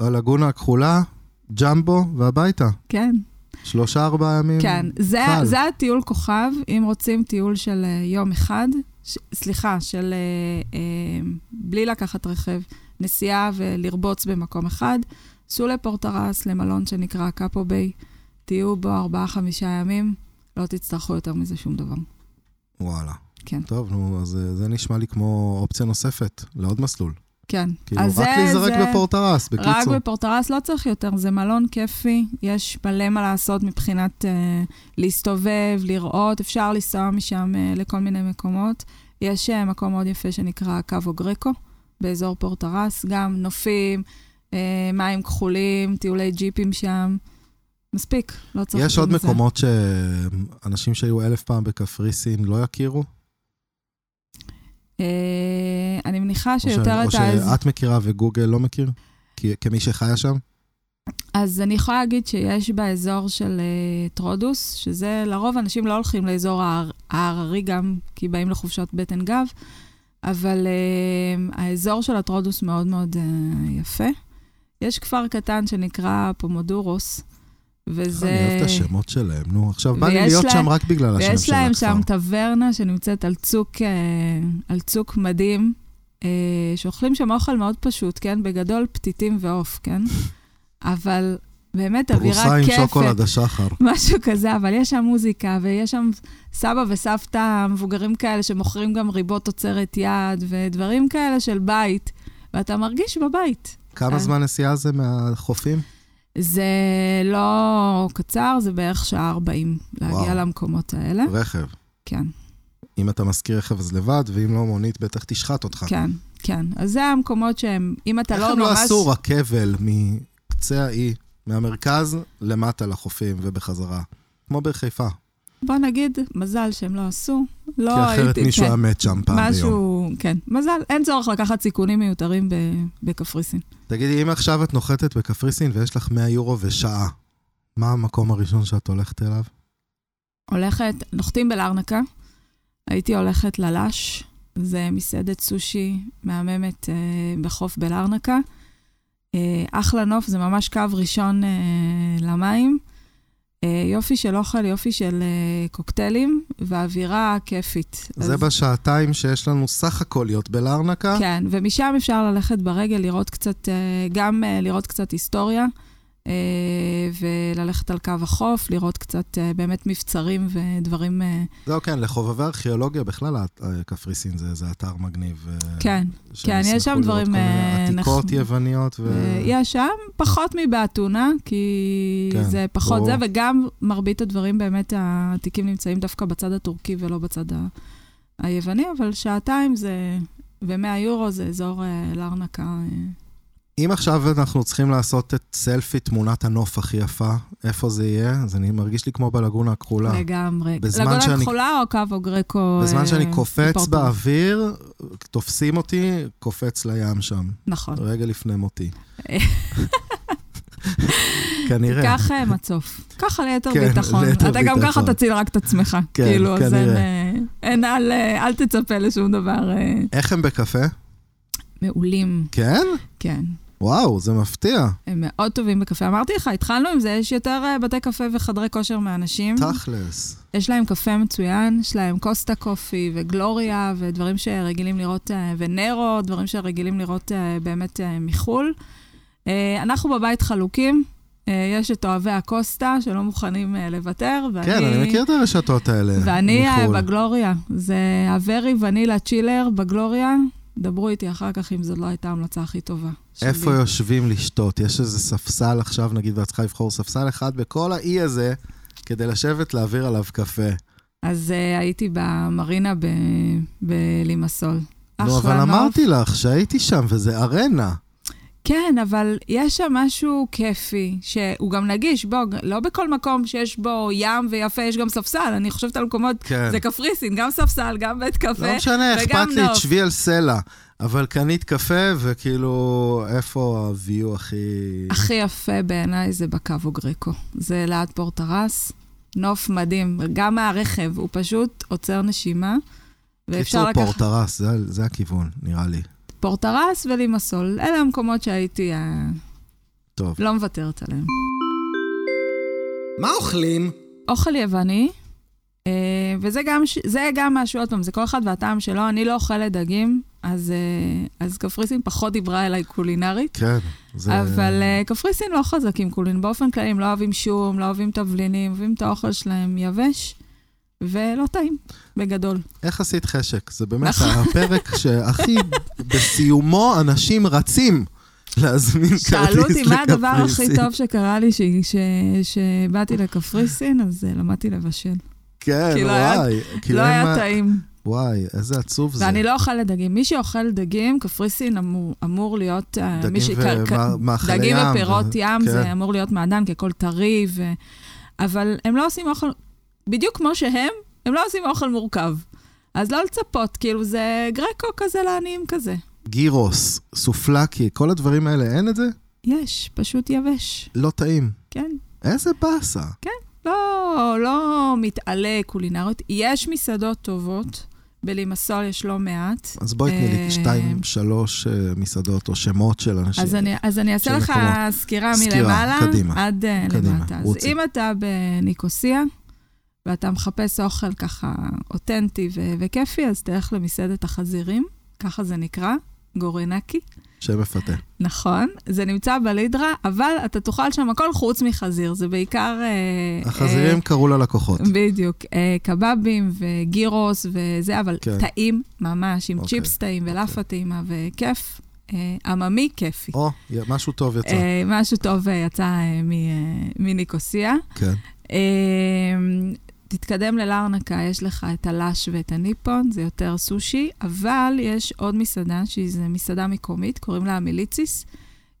[SPEAKER 1] הלגונה הכחולה, ג'מבו והביתה.
[SPEAKER 2] כן,
[SPEAKER 1] שלושה ארבעה ימים.
[SPEAKER 2] כן. זה,
[SPEAKER 1] קל.
[SPEAKER 2] זה הטיול כוכב, אם רוצים טיול של אה, יום אחד, ש, סליחה, של אה, אה, בלי לקחת רכב, נסיעה ולרבוץ במקום אחד, סעו לפורטרס, למלון שנקרא קאפו ביי, תהיו בו ארבעה-חמישה ימים, לא תצטרכו יותר מזה שום דבר.
[SPEAKER 1] וואלה.
[SPEAKER 2] כן.
[SPEAKER 1] טוב, נו, אז אה, זה נשמע לי כמו אופציה נוספת לעוד מסלול.
[SPEAKER 2] כן.
[SPEAKER 1] כאילו,
[SPEAKER 2] אז
[SPEAKER 1] רק
[SPEAKER 2] זה-
[SPEAKER 1] להיזרק
[SPEAKER 2] זה-
[SPEAKER 1] בפורטרס,
[SPEAKER 2] רק
[SPEAKER 1] בקיצור.
[SPEAKER 2] בפורטרס לא צריך יותר, זה מלון כיפי, יש מלא מה לעשות מבחינת אה, להסתובב, לראות, אפשר לנסוע משם אה, לכל מיני מקומות. יש אה, מקום מאוד יפה שנקרא קאבו גרקו, באזור פורטרס, גם נופים, אה, מים כחולים, טיולי ג'יפים שם. מספיק, לא צריך
[SPEAKER 1] יש עוד
[SPEAKER 2] יותר מזה.
[SPEAKER 1] מקומות שאנשים שהיו אלף פעם בקפריסין לא יכירו?
[SPEAKER 2] אה, אני מניחה
[SPEAKER 1] או ש-
[SPEAKER 2] שיותר
[SPEAKER 1] או
[SPEAKER 2] את ה...
[SPEAKER 1] שאת מכירה וגוגל לא מכיר? כי- כמי שחיה שם?
[SPEAKER 2] אז אני יכולה להגיד שיש באזור של uh, טרודוס, שזה לרוב אנשים לא הולכים לאזור ההר- ההררי גם, כי באים לחופשות בטן גב, אבל uh, האזור של הטרודוס מאוד מאוד uh, יפה. יש כפר קטן שנקרא פומודורוס, וזה...
[SPEAKER 1] אני אוהב את השמות שלהם, נו. עכשיו בא לי
[SPEAKER 2] ויש
[SPEAKER 1] להיות
[SPEAKER 2] להם-
[SPEAKER 1] שם רק בגלל השם של הכפר.
[SPEAKER 2] ויש להם שם טברנה שנמצאת על צוק, אה, על צוק מדהים, אה, שאוכלים שם אוכל מאוד פשוט, כן? בגדול פתיתים ועוף, כן? אבל באמת אווירה
[SPEAKER 1] פרוסה עם
[SPEAKER 2] כיפת.
[SPEAKER 1] שוקולד השחר.
[SPEAKER 2] משהו כזה, אבל יש שם מוזיקה, ויש שם סבא וסבתא מבוגרים כאלה שמוכרים גם ריבות תוצרת יד, ודברים כאלה של בית, ואתה מרגיש בבית.
[SPEAKER 1] כמה
[SPEAKER 2] אה.
[SPEAKER 1] זמן נסיעה זה מהחופים?
[SPEAKER 2] זה לא קצר, זה בערך שעה 40 להגיע
[SPEAKER 1] וואו.
[SPEAKER 2] למקומות האלה.
[SPEAKER 1] רכב.
[SPEAKER 2] כן,
[SPEAKER 1] אם אתה משכיר רכב אז לבד, ואם לא מונית בטח תשחט אותך.
[SPEAKER 2] כן, כן. אז זה המקומות שהם, אם אתה
[SPEAKER 1] אה. איך
[SPEAKER 2] לא
[SPEAKER 1] הם לא
[SPEAKER 2] ממש...
[SPEAKER 1] עשו רכבל מקצה האי, מהמרכז למטה לחופים ובחזרה? כמו בחיפה.
[SPEAKER 2] בוא נגיד, מזל שהם לא עשו.
[SPEAKER 1] כי
[SPEAKER 2] לא
[SPEAKER 1] אחרת
[SPEAKER 2] הייתי,
[SPEAKER 1] מישהו
[SPEAKER 2] כן.
[SPEAKER 1] היה מת שם פעם ביום.
[SPEAKER 2] משהו, כן. מזל, אין צורך לקחת סיכונים מיותרים ב- בקפריסין.
[SPEAKER 1] תגידי, אם עכשיו את נוחתת בקפריסין ויש לך 100 יורו ושעה, מה המקום הראשון שאת הולכת אליו?
[SPEAKER 2] הולכת, נוחתים בלארנקה, הייתי הולכת ללאש, זה מסעדת סושי מהממת אה, בחוף בלארנקה. אה, אחלה נוף, זה ממש קו ראשון אה, למים. אה, יופי של אוכל, יופי של אה, קוקטיילים, והאווירה כיפית.
[SPEAKER 1] זה בשעתיים שיש לנו סך הכל להיות בלארנקה.
[SPEAKER 2] כן, ומשם אפשר ללכת ברגל, לראות קצת, אה, גם אה, לראות קצת היסטוריה, אה, וללכת על קו החוף, לראות קצת אה, באמת מבצרים ודברים אה,
[SPEAKER 1] זהו, כן, לחובבי ארכיאולוגיה בכלל הת- אה, קפריסין זה זה אתר מגניב. אה,
[SPEAKER 2] כן,
[SPEAKER 1] שהם
[SPEAKER 2] כן, יש
[SPEAKER 1] ישמחו
[SPEAKER 2] שם
[SPEAKER 1] לראות
[SPEAKER 2] דברים,
[SPEAKER 1] כל מיני
[SPEAKER 2] אה,
[SPEAKER 1] עתיקות
[SPEAKER 2] אנחנו-
[SPEAKER 1] יווניות ו...
[SPEAKER 2] אה, יש שם פחות מבאתונה, כי
[SPEAKER 1] כן,
[SPEAKER 2] זה פחות
[SPEAKER 1] ברור.
[SPEAKER 2] זה, וגם מרבית הדברים באמת העתיקים נמצאים דווקא בצד הטורקי ולא בצד ה- היווני, אבל שעתיים זה, ו-100 יורו זה אזור אה, לארנקה. אה.
[SPEAKER 1] אם עכשיו אנחנו צריכים לעשות את סלפי תמונת הנוף הכי יפה, איפה זה יהיה? זה אני- מרגיש לי כמו בלגונה הכחולה.
[SPEAKER 2] לגמרי.
[SPEAKER 1] לא. בזמן
[SPEAKER 2] לגולן
[SPEAKER 1] שאני-
[SPEAKER 2] כחולה או קו גרקו?
[SPEAKER 1] בזמן
[SPEAKER 2] אה,
[SPEAKER 1] שאני קופץ
[SPEAKER 2] בפורטו.
[SPEAKER 1] באוויר, תופסים אותי, קופץ לים שם,
[SPEAKER 2] נכון.
[SPEAKER 1] רגע לפני מותי. כנראה.
[SPEAKER 2] תיקח אה, מצוף. ככה ליתר
[SPEAKER 1] כן,
[SPEAKER 2] ביטחון.
[SPEAKER 1] ליתר
[SPEAKER 2] אתה גם ככה
[SPEAKER 1] ביטחון.
[SPEAKER 2] תציל רק את עצמך.
[SPEAKER 1] כן,
[SPEAKER 2] כאילו, אז אין,
[SPEAKER 1] כנראה.
[SPEAKER 2] אה, אין, אל, אה, אל תצפה לשום דבר אה,
[SPEAKER 1] איך הם בקפה?
[SPEAKER 2] מעולים.
[SPEAKER 1] כן?
[SPEAKER 2] כן.
[SPEAKER 1] וואו, זה מפתיע.
[SPEAKER 2] הם מאוד טובים בקפה. אמרתי לך, התחלנו עם זה, יש יותר אה, בתי קפה וחדרי כושר מאנשים.
[SPEAKER 1] תכלס.
[SPEAKER 2] יש להם קפה מצוין, יש להם קוסטה קופי וגלוריה ודברים שרגילים לראות, אה, ונרו, דברים שרגילים לראות אה, באמת אה, מחו"ל. אה, אנחנו בבית חלוקים, אה, יש את אוהבי הקוסטה שלא מוכנים אה, לוותר, ואני...
[SPEAKER 1] כן, אני מכיר את הרשתות האלה.
[SPEAKER 2] ואני אה,
[SPEAKER 1] מחו"ל.
[SPEAKER 2] בגלוריה, זה הוורי ונילה צ'ילר בגלוריה. דברו איתי אחר כך אם זאת לא הייתה ההמלצה הכי טובה. שלי.
[SPEAKER 1] איפה יושבים לשתות? יש איזה ספסל עכשיו, נגיד, ואת צריכה לבחור ספסל אחד בכל האי הזה, כדי לשבת להעביר עליו קפה.
[SPEAKER 2] אז uh, הייתי במרינה ב- בלימסול.
[SPEAKER 1] נו, אבל
[SPEAKER 2] אחלה נוף.
[SPEAKER 1] אמרתי לך שהייתי שם, וזה ארנה.
[SPEAKER 2] כן, אבל יש שם משהו כיפי, שהוא גם נגיש, בוא, ג- לא בכל מקום שיש בו ים ויפה יש גם ספסל, אני חושבת על מקומות,
[SPEAKER 1] כן.
[SPEAKER 2] זה קפריסין, גם ספסל, גם בית קפה.
[SPEAKER 1] לא משנה,
[SPEAKER 2] וגם
[SPEAKER 1] אכפת לי,
[SPEAKER 2] נוף.
[SPEAKER 1] תשבי על סלע. אבל קנית קפה, וכאילו, איפה הוויו הכי...
[SPEAKER 2] הכי יפה בעיניי זה בקאבו גריקו. זה ליד פורטרס, נוף מדהים. גם מהרכב, הוא פשוט עוצר נשימה. ואפשר
[SPEAKER 1] קיצור,
[SPEAKER 2] לקחת
[SPEAKER 1] פורטרס, זה- זה הכיוון, נראה לי.
[SPEAKER 2] פורטרס ולימסול. אלה המקומות שהייתי, אה,
[SPEAKER 1] טוב.
[SPEAKER 2] לא מוותרת עליהם.
[SPEAKER 3] מה אוכלים?
[SPEAKER 2] אוכל יווני, אה, וזה גם, ש- זה גם משהו, עוד פעם, זה כל אחד והטעם שלו, אני לא אוכלת דגים, אז, אה, אז קפריסין פחות דיברה אליי קולינרית,
[SPEAKER 1] כן, זה...
[SPEAKER 2] אבל אה, קפריסין לא חזקים קולין, באופן כללי הם לא אוהבים שום, לא אוהבים תבלינים, אוהבים את האוכל שלהם יבש, ולא טעים, בגדול.
[SPEAKER 1] איך עשית חשק? זה באמת
[SPEAKER 2] נכון.
[SPEAKER 1] הפרק שהכי בסיומו אנשים רצים להזמין כרטיס לקפריסין.
[SPEAKER 2] שאלו אותי מה הדבר הכי טוב שקרה לי ש- ש- שבאתי לקפריסין, אז אה, למדתי לבשל.
[SPEAKER 1] כן,
[SPEAKER 2] כי לא היה-
[SPEAKER 1] וואי. כאילו
[SPEAKER 2] לא
[SPEAKER 1] אין
[SPEAKER 2] היה
[SPEAKER 1] מה-
[SPEAKER 2] טעים.
[SPEAKER 1] וואי, איזה עצוב זה.
[SPEAKER 2] ואני לא אוכלת דגים. מי שאוכל דגים, קפריסין אמור- אמור להיות... אה,
[SPEAKER 1] דגים
[SPEAKER 2] מי שקר-
[SPEAKER 1] ומא-
[SPEAKER 2] קר-
[SPEAKER 1] מאכלי
[SPEAKER 2] דגים
[SPEAKER 1] ים,
[SPEAKER 2] ופירות
[SPEAKER 1] ו-
[SPEAKER 2] ים,
[SPEAKER 1] כן.
[SPEAKER 2] זה אמור להיות מעדן, כי הכל טרי, ו... אבל הם לא עושים אוכל, בדיוק כמו שהם, הם לא עושים אוכל מורכב. אז לא לצפות, כאילו זה גרקו כזה לעניים כזה.
[SPEAKER 1] גירוס, סופלקי, כל הדברים האלה, אין את זה?
[SPEAKER 2] יש, פשוט יבש,
[SPEAKER 1] לא טעים.
[SPEAKER 2] כן.
[SPEAKER 1] איזה באסה.
[SPEAKER 2] לא, לא מתעלה קולינריות. יש מסעדות טובות, בלימסול יש לא מעט.
[SPEAKER 1] אז בואי תני לי
[SPEAKER 2] אה,
[SPEAKER 1] שתיים, שלוש אה, מסעדות או שמות של אנשים.
[SPEAKER 2] אז אני, אז אני אעשה
[SPEAKER 1] של
[SPEAKER 2] לך
[SPEAKER 1] מקומות.
[SPEAKER 2] סקירה
[SPEAKER 1] סקירה,
[SPEAKER 2] מלמעלה,
[SPEAKER 1] קדימה,
[SPEAKER 2] עד אה,
[SPEAKER 1] קדימה,
[SPEAKER 2] למטה. אז
[SPEAKER 1] רוצי.
[SPEAKER 2] אם אתה בניקוסיה, ואתה מחפש אוכל ככה אותנטי ו- וכיפי, אז תלך למסעדת החזירים, ככה זה נקרא, גורנקי.
[SPEAKER 1] שם מפתה.
[SPEAKER 2] נכון, זה נמצא בלידרה, אבל אתה תאכל שם הכל חוץ מחזיר, זה בעיקר... אה,
[SPEAKER 1] החזירים קראו ללקוחות.
[SPEAKER 2] בדיוק, אה, קבבים וגירוס וזה, אבל
[SPEAKER 1] כן.
[SPEAKER 2] כן. טעים ממש, עם
[SPEAKER 1] אוקיי,
[SPEAKER 2] okay. צ'יפס טעים ולאפה טעימה וכיף. אה, עממי כיפי.
[SPEAKER 1] או, י- משהו טוב יצא.
[SPEAKER 2] אה, משהו טוב אה, יצא אה, מ- אה, מניקוסיה.
[SPEAKER 1] כן.
[SPEAKER 2] אה, תתקדם ללארנקה, יש לך את הלאש ואת הניפון, זה יותר סושי, אבל יש עוד מסעדה, שהיא זו מסעדה מקומית, קוראים לה המיליציס.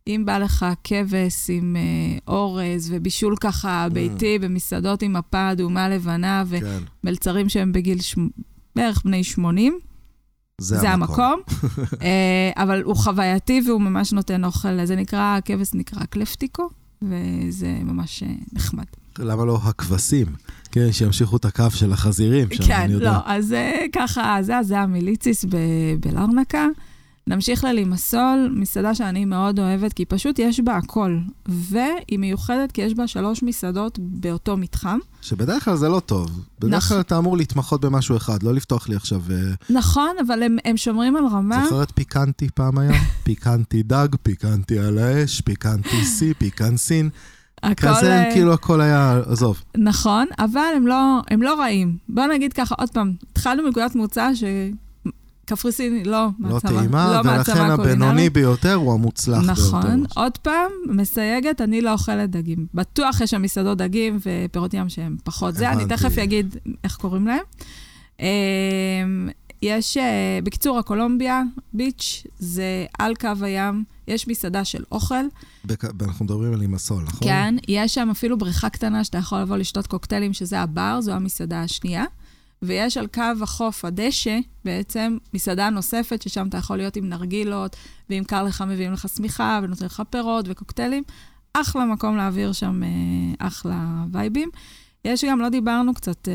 [SPEAKER 2] אם בא לך כבש עם אה, אורז ובישול ככה ביתי במסעדות עם מפה אדומה לבנה
[SPEAKER 1] כן.
[SPEAKER 2] ומלצרים שהם בגיל ש... בערך בני 80, זה המקום. אה, אבל הוא חווייתי והוא ממש נותן אוכל, זה נקרא, הכבש נקרא קלפטיקו, וזה ממש אה, נחמד.
[SPEAKER 1] למה לא הכבשים? כן, שימשיכו את הקו של החזירים שם,
[SPEAKER 2] כן,
[SPEAKER 1] אני יודע.
[SPEAKER 2] לא, אז אה, ככה, זה, זה המיליציס ב- בלרנקה. נמשיך ללימסול, מסעדה שאני מאוד אוהבת, כי פשוט יש בה הכל. והיא מיוחדת כי יש בה שלוש מסעדות באותו מתחם.
[SPEAKER 1] שבדרך כלל זה לא טוב. בדרך
[SPEAKER 2] נכון.
[SPEAKER 1] כלל אתה אמור להתמחות במשהו אחד, לא לפתוח לי עכשיו... אה,
[SPEAKER 2] נכון, אבל הם, הם שומרים על רמה.
[SPEAKER 1] זוכרת פיקנטי פעם היה? פיקנטי דג, פיקנטי על האש, פיקנטי סי, פיקנסין.
[SPEAKER 2] הכל,
[SPEAKER 1] כזה
[SPEAKER 2] אה,
[SPEAKER 1] כאילו הכל היה, עזוב.
[SPEAKER 2] נכון, אבל הם לא, הם לא רעים. בוא נגיד ככה, עוד פעם, התחלנו מנקודת מוצא שקפריסין היא לא
[SPEAKER 1] לא
[SPEAKER 2] מעצמה,
[SPEAKER 1] טעימה,
[SPEAKER 2] לא
[SPEAKER 1] ולכן
[SPEAKER 2] מעצמה
[SPEAKER 1] הבינוני
[SPEAKER 2] קולינרית.
[SPEAKER 1] ביותר הוא המוצלח ביותר.
[SPEAKER 2] נכון, עוד פעם, מסייגת, אני לא אוכלת דגים. בטוח יש שם מסעדות דגים ופירות ים שהם פחות זה, אני
[SPEAKER 1] הבנתי.
[SPEAKER 2] תכף אגיד איך קוראים להם. אמ, יש, אה, בקיצור, הקולומביה ביץ' זה על קו הים, יש מסעדה של אוכל,
[SPEAKER 1] בק- אנחנו מדברים על עם הסול, נכון?
[SPEAKER 2] כן, יש שם אפילו בריכה קטנה שאתה יכול לבוא לשתות קוקטיילים, שזה הבר, זו המסעדה השנייה. ויש על קו החוף, הדשא, בעצם מסעדה נוספת, ששם אתה יכול להיות עם נרגילות, ואם קר לך מביאים לך שמיכה, ונותנים לך פירות וקוקטיילים. אחלה מקום להעביר שם אה, אחלה וייבים. יש גם, לא דיברנו קצת, אה,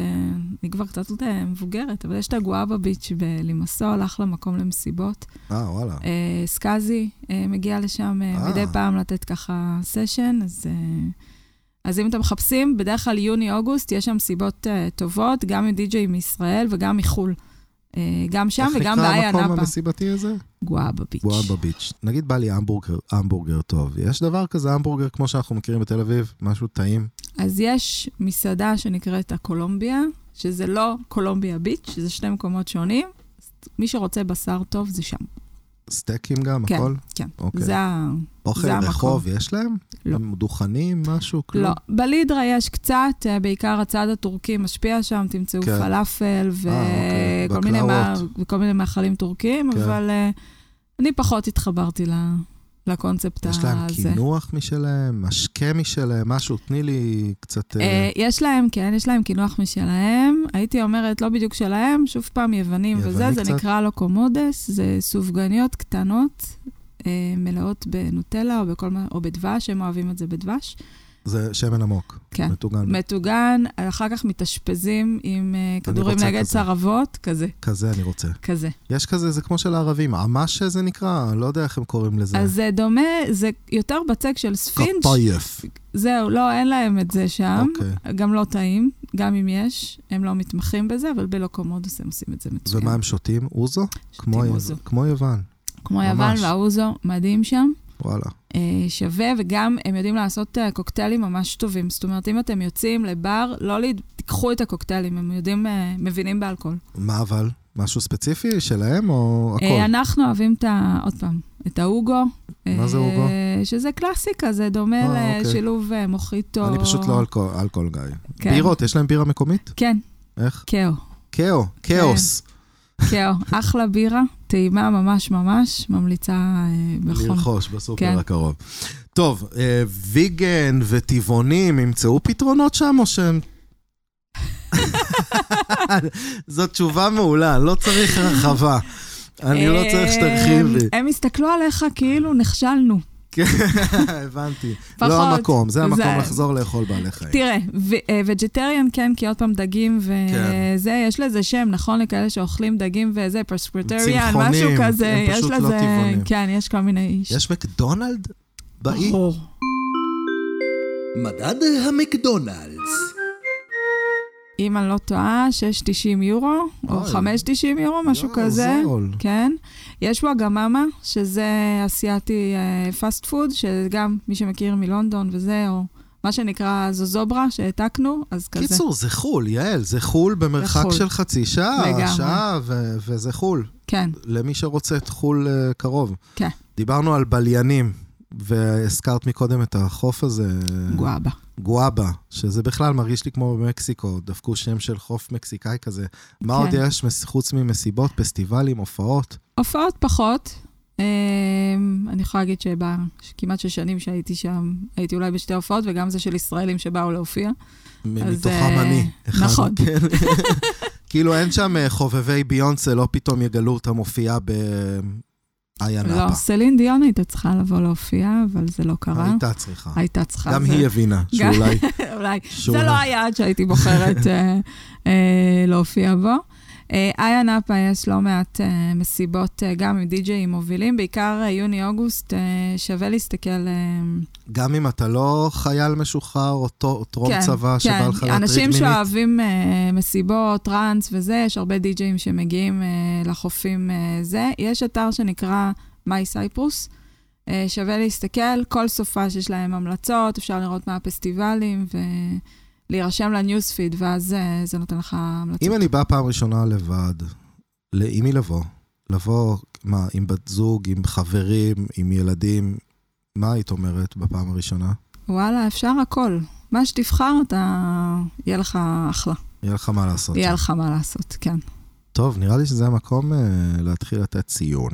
[SPEAKER 2] אני כבר קצת אה, מבוגרת, אבל יש את הגואבה ביץ' בלימסול, אחלה מקום למסיבות.
[SPEAKER 1] אה, וואלה.
[SPEAKER 2] אה, סקאזי אה, מגיע לשם אה,
[SPEAKER 1] אה.
[SPEAKER 2] מדי פעם לתת ככה סשן, אז, אה, אז אם אתם מחפשים, בדרך כלל יוני-אוגוסט, יש שם סיבות אה, טובות, גם עם די-ג'יי מישראל וגם מחו"ל. אה, גם שם וגם
[SPEAKER 1] איך
[SPEAKER 2] באיה
[SPEAKER 1] נקרא המקום
[SPEAKER 2] נאפה.
[SPEAKER 1] המסיבתי הזה?
[SPEAKER 2] גואבה ביץ'.
[SPEAKER 1] וואבה ביץ'. נגיד בא לי המבורגר, המבורגר טוב. יש דבר כזה, המבורגר כמו שאנחנו מכירים בתל אביב, משהו טעים.
[SPEAKER 2] אז יש מסעדה שנקראת הקולומביה, שזה לא קולומביה ביץ', שזה שני מקומות שונים. אז מי שרוצה בשר טוב, זה שם.
[SPEAKER 1] סטייקים גם,
[SPEAKER 2] כן,
[SPEAKER 1] הכל.
[SPEAKER 2] כן.
[SPEAKER 1] אוקיי.
[SPEAKER 2] זה ה...
[SPEAKER 1] אוכל
[SPEAKER 2] זה המקום.
[SPEAKER 1] רחוב יש להם?
[SPEAKER 2] לא.
[SPEAKER 1] הם דוכנים, משהו? כלום?
[SPEAKER 2] לא, בלידרה יש קצת, אה, בעיקר הצד הטורקי משפיע שם, תמצאו
[SPEAKER 1] כן.
[SPEAKER 2] כן. פלאפל ו...
[SPEAKER 1] אוקיי,
[SPEAKER 2] כל מיני מה...
[SPEAKER 1] בקלאוות.
[SPEAKER 2] וכל מיני מאכלים טורקיים,
[SPEAKER 1] כן.
[SPEAKER 2] כן. אבל אה, אני פחות התחברתי ל... לקונספט
[SPEAKER 1] יש
[SPEAKER 2] הזה.
[SPEAKER 1] להם קינוח משלהם, משקה משלהם, משהו, תני לי קצת... אה,
[SPEAKER 2] אה, יש להם, כן, יש להם קינוח משלהם. הייתי אומרת, לא בדיוק שלהם, שוב פעם יוונים
[SPEAKER 1] יווני
[SPEAKER 2] וזה,
[SPEAKER 1] קצת.
[SPEAKER 2] זה נקרא לוקומודס, זה סופגניות קטנות, אה, מלאות בנוטלה או, בכל... מה- או בדבש, הם אוהבים את זה בדבש.
[SPEAKER 1] זה שמן עמוק.
[SPEAKER 2] כן.
[SPEAKER 1] מטוגן.
[SPEAKER 2] מטוגן, אחר כך מתאשפזים עם אה, כדורים
[SPEAKER 1] רוצה
[SPEAKER 2] נגד
[SPEAKER 1] כזה.
[SPEAKER 2] צרבות, כזה,
[SPEAKER 1] כזה אני רוצה.
[SPEAKER 2] כזה.
[SPEAKER 1] יש כזה, זה כמו של הערבים, עמש זה נקרא, אני לא יודע איך הם קוראים לזה.
[SPEAKER 2] אז זה דומה, זה יותר בצק של ספינג',
[SPEAKER 1] קפייף.
[SPEAKER 2] זהו, לא, אין להם את זה שם.
[SPEAKER 1] אוקיי.
[SPEAKER 2] גם לא טעים, גם אם יש, הם לא מתמחים בזה, אבל בלוקומודוס הם עושים את זה מצוין.
[SPEAKER 1] ומה הם שותים? אוזו?
[SPEAKER 2] כן. שותים
[SPEAKER 1] כמו יו-
[SPEAKER 2] אוזו.
[SPEAKER 1] כמו יוון.
[SPEAKER 2] כמו
[SPEAKER 1] ממש.
[SPEAKER 2] יוון והאוזו, מדהים שם.
[SPEAKER 1] וואלה.
[SPEAKER 2] אה, שווה, וגם הם יודעים לעשות אה, קוקטיילים ממש טובים. זאת אומרת, אם אתם יוצאים לבר, לא להד... תיקחו את הקוקטיילים, הם יודעים, אה, מבינים באלכוהול.
[SPEAKER 1] מה אבל? משהו ספציפי שלהם או הכל?
[SPEAKER 2] אה, אנחנו אוהבים את ה... עוד פעם, את ההוגו.
[SPEAKER 1] מה זה
[SPEAKER 2] אה,
[SPEAKER 1] הוגו?
[SPEAKER 2] שזה קלאסיקה, זה דומה
[SPEAKER 1] אה, אוקיי.
[SPEAKER 2] לשילוב אה, מוחיטו.
[SPEAKER 1] אני פשוט לא אלכוהול- אלכוהול גיא.
[SPEAKER 2] כן.
[SPEAKER 1] בירות, יש להם בירה מקומית?
[SPEAKER 2] כן,
[SPEAKER 1] איך?
[SPEAKER 2] קאו. כן,
[SPEAKER 1] כאו, כאוס.
[SPEAKER 2] קאו, אחלה בירה, טעימה ממש ממש, ממליצה אה, בחום.
[SPEAKER 1] לרכוש בסופר
[SPEAKER 2] כן.
[SPEAKER 1] הקרוב. טוב, אה, ויגן וטבעונים ימצאו פתרונות שם או שהם... זו תשובה מעולה, לא צריך הרחבה. אני לא צריך שתרחיבי.
[SPEAKER 2] אה, הם הסתכלו עליך כאילו נכשלנו.
[SPEAKER 1] כן, הבנתי.
[SPEAKER 2] פחות.
[SPEAKER 1] לא המקום, זה המקום
[SPEAKER 2] זה-
[SPEAKER 1] לחזור לאכול בעלי חיים.
[SPEAKER 2] תראה, וג'טריאן כן, כי עוד פעם דגים
[SPEAKER 1] כן.
[SPEAKER 2] וזה, יש לזה שם, נכון? לכאלה שאוכלים דגים וזה, פרסקריטריאן, משהו
[SPEAKER 1] צמחונים,
[SPEAKER 2] כזה,
[SPEAKER 1] הם
[SPEAKER 2] יש
[SPEAKER 1] פשוט לא
[SPEAKER 2] לזה...
[SPEAKER 1] טבעונים.
[SPEAKER 2] כן, יש כל מיני...
[SPEAKER 1] יש אה, מקדונלד באי?
[SPEAKER 2] ברור.
[SPEAKER 6] מדד המקדונלדס.
[SPEAKER 2] אם אני לא טועה, 6.90 יורו, או
[SPEAKER 1] אוי.
[SPEAKER 2] 5.90 יורו, משהו
[SPEAKER 1] יואו,
[SPEAKER 2] כזה.
[SPEAKER 1] זול.
[SPEAKER 2] כן. יש וואגממה, שזה אסיאתי אה, פאסט פוד, שגם מי שמכיר מלונדון וזה, או מה שנקרא זוזוברה, שהעתקנו, אז כזה.
[SPEAKER 1] קיצור, זה חו"ל, יעל, זה חו"ל במרחק
[SPEAKER 2] זה חו"ל.
[SPEAKER 1] של חצי שעה,
[SPEAKER 2] לגמרי.
[SPEAKER 1] שעה, ו- וזה חו"ל.
[SPEAKER 2] כן,
[SPEAKER 1] למי שרוצה את חו"ל אה, קרוב.
[SPEAKER 2] כן.
[SPEAKER 1] דיברנו על בליינים, והזכרת מקודם את החוף הזה,
[SPEAKER 2] גואבה.
[SPEAKER 1] גואבה, שזה בכלל מרגיש לי כמו במקסיקו, דפקו שם של חוף מקסיקאי כזה. מה
[SPEAKER 2] כן.
[SPEAKER 1] עוד יש מס- חוץ ממסיבות, פסטיבלים, הופעות?
[SPEAKER 2] הופעות פחות. אמ, אני יכולה להגיד שכמעט שש שנים שהייתי שם, הייתי אולי בשתי הופעות, וגם זה של ישראלים שבאו להופיע.
[SPEAKER 1] מ-
[SPEAKER 2] אז,
[SPEAKER 1] מתוכם
[SPEAKER 2] אה,
[SPEAKER 1] אני. אחד,
[SPEAKER 2] נכון.
[SPEAKER 1] כן. כאילו אין שם אה, חובבי ביונסה, לא פתאום יגלו אותה מופיעה באיה
[SPEAKER 2] לא,
[SPEAKER 1] נאפה.
[SPEAKER 2] סלין דיון הייתה צריכה לבוא להופיע, אבל זה לא קרה.
[SPEAKER 1] הייתה צריכה.
[SPEAKER 2] הייתה צריכה.
[SPEAKER 1] גם
[SPEAKER 2] זה- לא
[SPEAKER 1] היא הבינה
[SPEAKER 2] גם-
[SPEAKER 1] שאולי...
[SPEAKER 2] אולי.
[SPEAKER 1] שאולי-
[SPEAKER 2] זה לא היעד שהייתי בוחרת אה, אה, להופיע בו. אה, איה נאפה יש לא מעט אה, מסיבות, אה, גם עם די-ג'אים מובילים, בעיקר אה, יוני-אוגוסט, אה, שווה להסתכל. אה,
[SPEAKER 1] גם אם אתה לא חייל משוחרר או טו- או טרום
[SPEAKER 2] כן,
[SPEAKER 1] צבא שבא לך להטריד
[SPEAKER 2] אנשים
[SPEAKER 1] מינית.
[SPEAKER 2] שאוהבים אה, מסיבות, טראנס וזה, יש הרבה די-ג'אים שמגיעים אה, לחופים אה, זה. יש אתר שנקרא מיי סייפרוס, אה, שווה להסתכל, כל סופה שיש להם המלצות, אפשר לראות מה הפסטיבלים ולהירשם לניוספיד, ואז אה, זה נותן לך המלצות.
[SPEAKER 1] אם אני בא פעם ראשונה לבד, ל- עם מי לבוא? לבוא, מה, עם בת זוג, עם חברים, עם ילדים? מה היית אומרת בפעם הראשונה?
[SPEAKER 2] וואלה, אפשר הכל. מה שתבחר, אתה... יהיה לך אחלה.
[SPEAKER 1] יהיה לך מה לעשות.
[SPEAKER 2] יהיה לך מה לעשות, כן.
[SPEAKER 1] טוב, נראה לי שזה המקום אה, להתחיל לתת ציון.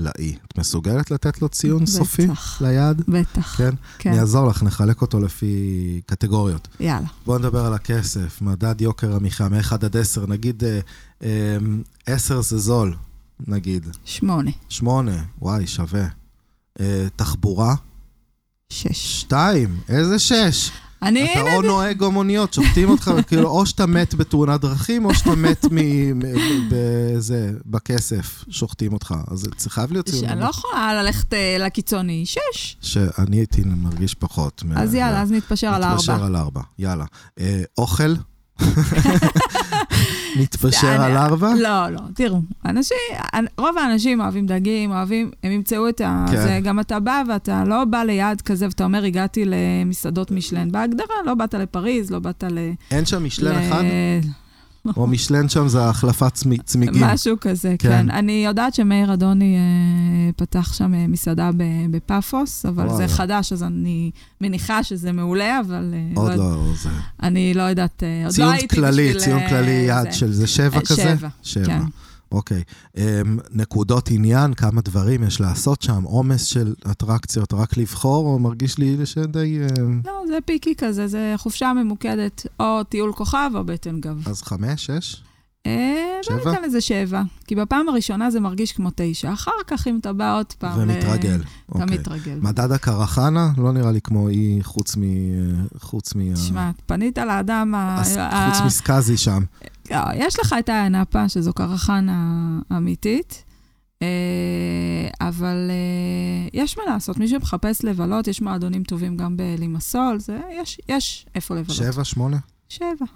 [SPEAKER 1] לאי. את מסוגלת לתת לו ציון סופי?
[SPEAKER 2] בטח,
[SPEAKER 1] ליד?
[SPEAKER 2] בטח.
[SPEAKER 1] כן?
[SPEAKER 2] כן,
[SPEAKER 1] אני אעזור לך, נחלק אותו לפי קטגוריות.
[SPEAKER 2] יאללה.
[SPEAKER 1] בואו נדבר על הכסף, מדד יוקר המחיה, מ-1 עד 10, נגיד אה, אה, 10 זה זול, נגיד,
[SPEAKER 2] שמונה,
[SPEAKER 1] 8, וואי, שווה. אה, תחבורה,
[SPEAKER 2] שש.
[SPEAKER 1] 2, איזה 6.
[SPEAKER 2] אני,
[SPEAKER 1] אתה או נוהג או מוניות, שופטים אותך, כאילו, או שאתה מת בתאונת דרכים, או שאתה מת מ- מ- בזה, בכסף, שוחטים אותך. אז זה חייב להיות ציון.
[SPEAKER 2] שאני לא יכולה ללכת אה, לקיצוני, שש.
[SPEAKER 1] שאני הייתי מרגיש פחות. מה-
[SPEAKER 2] אז יאללה, אז נתפשר על
[SPEAKER 1] אה, נתפשר
[SPEAKER 2] ארבע.
[SPEAKER 1] על ארבע, יאללה. אה, אוכל? נתפשר
[SPEAKER 2] אני-
[SPEAKER 1] על ארבע?
[SPEAKER 2] לא, לא, תראו, אנשים, אנ- רוב האנשים אוהבים דגים, אוהבים, הם ימצאו את ה...
[SPEAKER 1] כן.
[SPEAKER 2] זה גם אתה בא ואתה לא בא ליעד כזה ואתה אומר, הגעתי למסעדות משלן. בהגדרה, לא באת לפריז, לא באת ל...
[SPEAKER 1] אין שם משלן
[SPEAKER 2] ל-
[SPEAKER 1] אחד? או משלן שם זה החלפת צמי- צמיגים.
[SPEAKER 2] משהו כזה,
[SPEAKER 1] כן.
[SPEAKER 2] כן. כן. אני יודעת שמאיר אדוני אה, פתח שם אה, מסעדה ב- בפאפוס, אבל
[SPEAKER 1] וואלה.
[SPEAKER 2] זה חדש, אז אני מניחה שזה מעולה, אבל... אה,
[SPEAKER 1] עוד לא, זה...
[SPEAKER 2] אני לא יודעת, אה, עוד לא
[SPEAKER 1] ציון
[SPEAKER 2] הייתי בשביל...
[SPEAKER 1] כללי, ציון
[SPEAKER 2] אה,
[SPEAKER 1] כללי יעד
[SPEAKER 2] זה.
[SPEAKER 1] של זה שבע
[SPEAKER 2] אה,
[SPEAKER 1] כזה?
[SPEAKER 2] שבע, כן.
[SPEAKER 1] אוקיי. אמ, נקודות עניין, כמה דברים יש לעשות שם, עומס של אטרקציות, רק לבחור, או מרגיש לי שדי... אמ,
[SPEAKER 2] לא, זה פיקי כזה, זה חופשה ממוקדת, או טיול כוכב או בטן גב.
[SPEAKER 1] אז חמש, שש?
[SPEAKER 2] אה, בוא
[SPEAKER 1] שבע?
[SPEAKER 2] ניתן לזה שבע, כי בפעם הראשונה זה מרגיש כמו תשע, אחר כך אם אתה בא עוד פעם... ל-
[SPEAKER 1] ומתרגל.
[SPEAKER 2] אתה
[SPEAKER 1] אוקיי.
[SPEAKER 2] מתרגל.
[SPEAKER 1] מדד הקרחנה, לא נראה לי כמו אי חוץ מ... אה, חוץ מ...
[SPEAKER 2] תשמע, פנית לאדם ה...
[SPEAKER 1] הס-
[SPEAKER 2] ה-
[SPEAKER 1] חוץ מסקאזי שם.
[SPEAKER 2] לא, יש לך את האנפה, שזו קרחנה אמיתית, אה, אבל אה, יש מה לעשות. מי שמחפש לבלות, יש מועדונים טובים גם בלימסול, זה- יש- יש איפה לבלות.
[SPEAKER 1] שבע, שמונה?
[SPEAKER 2] שבע.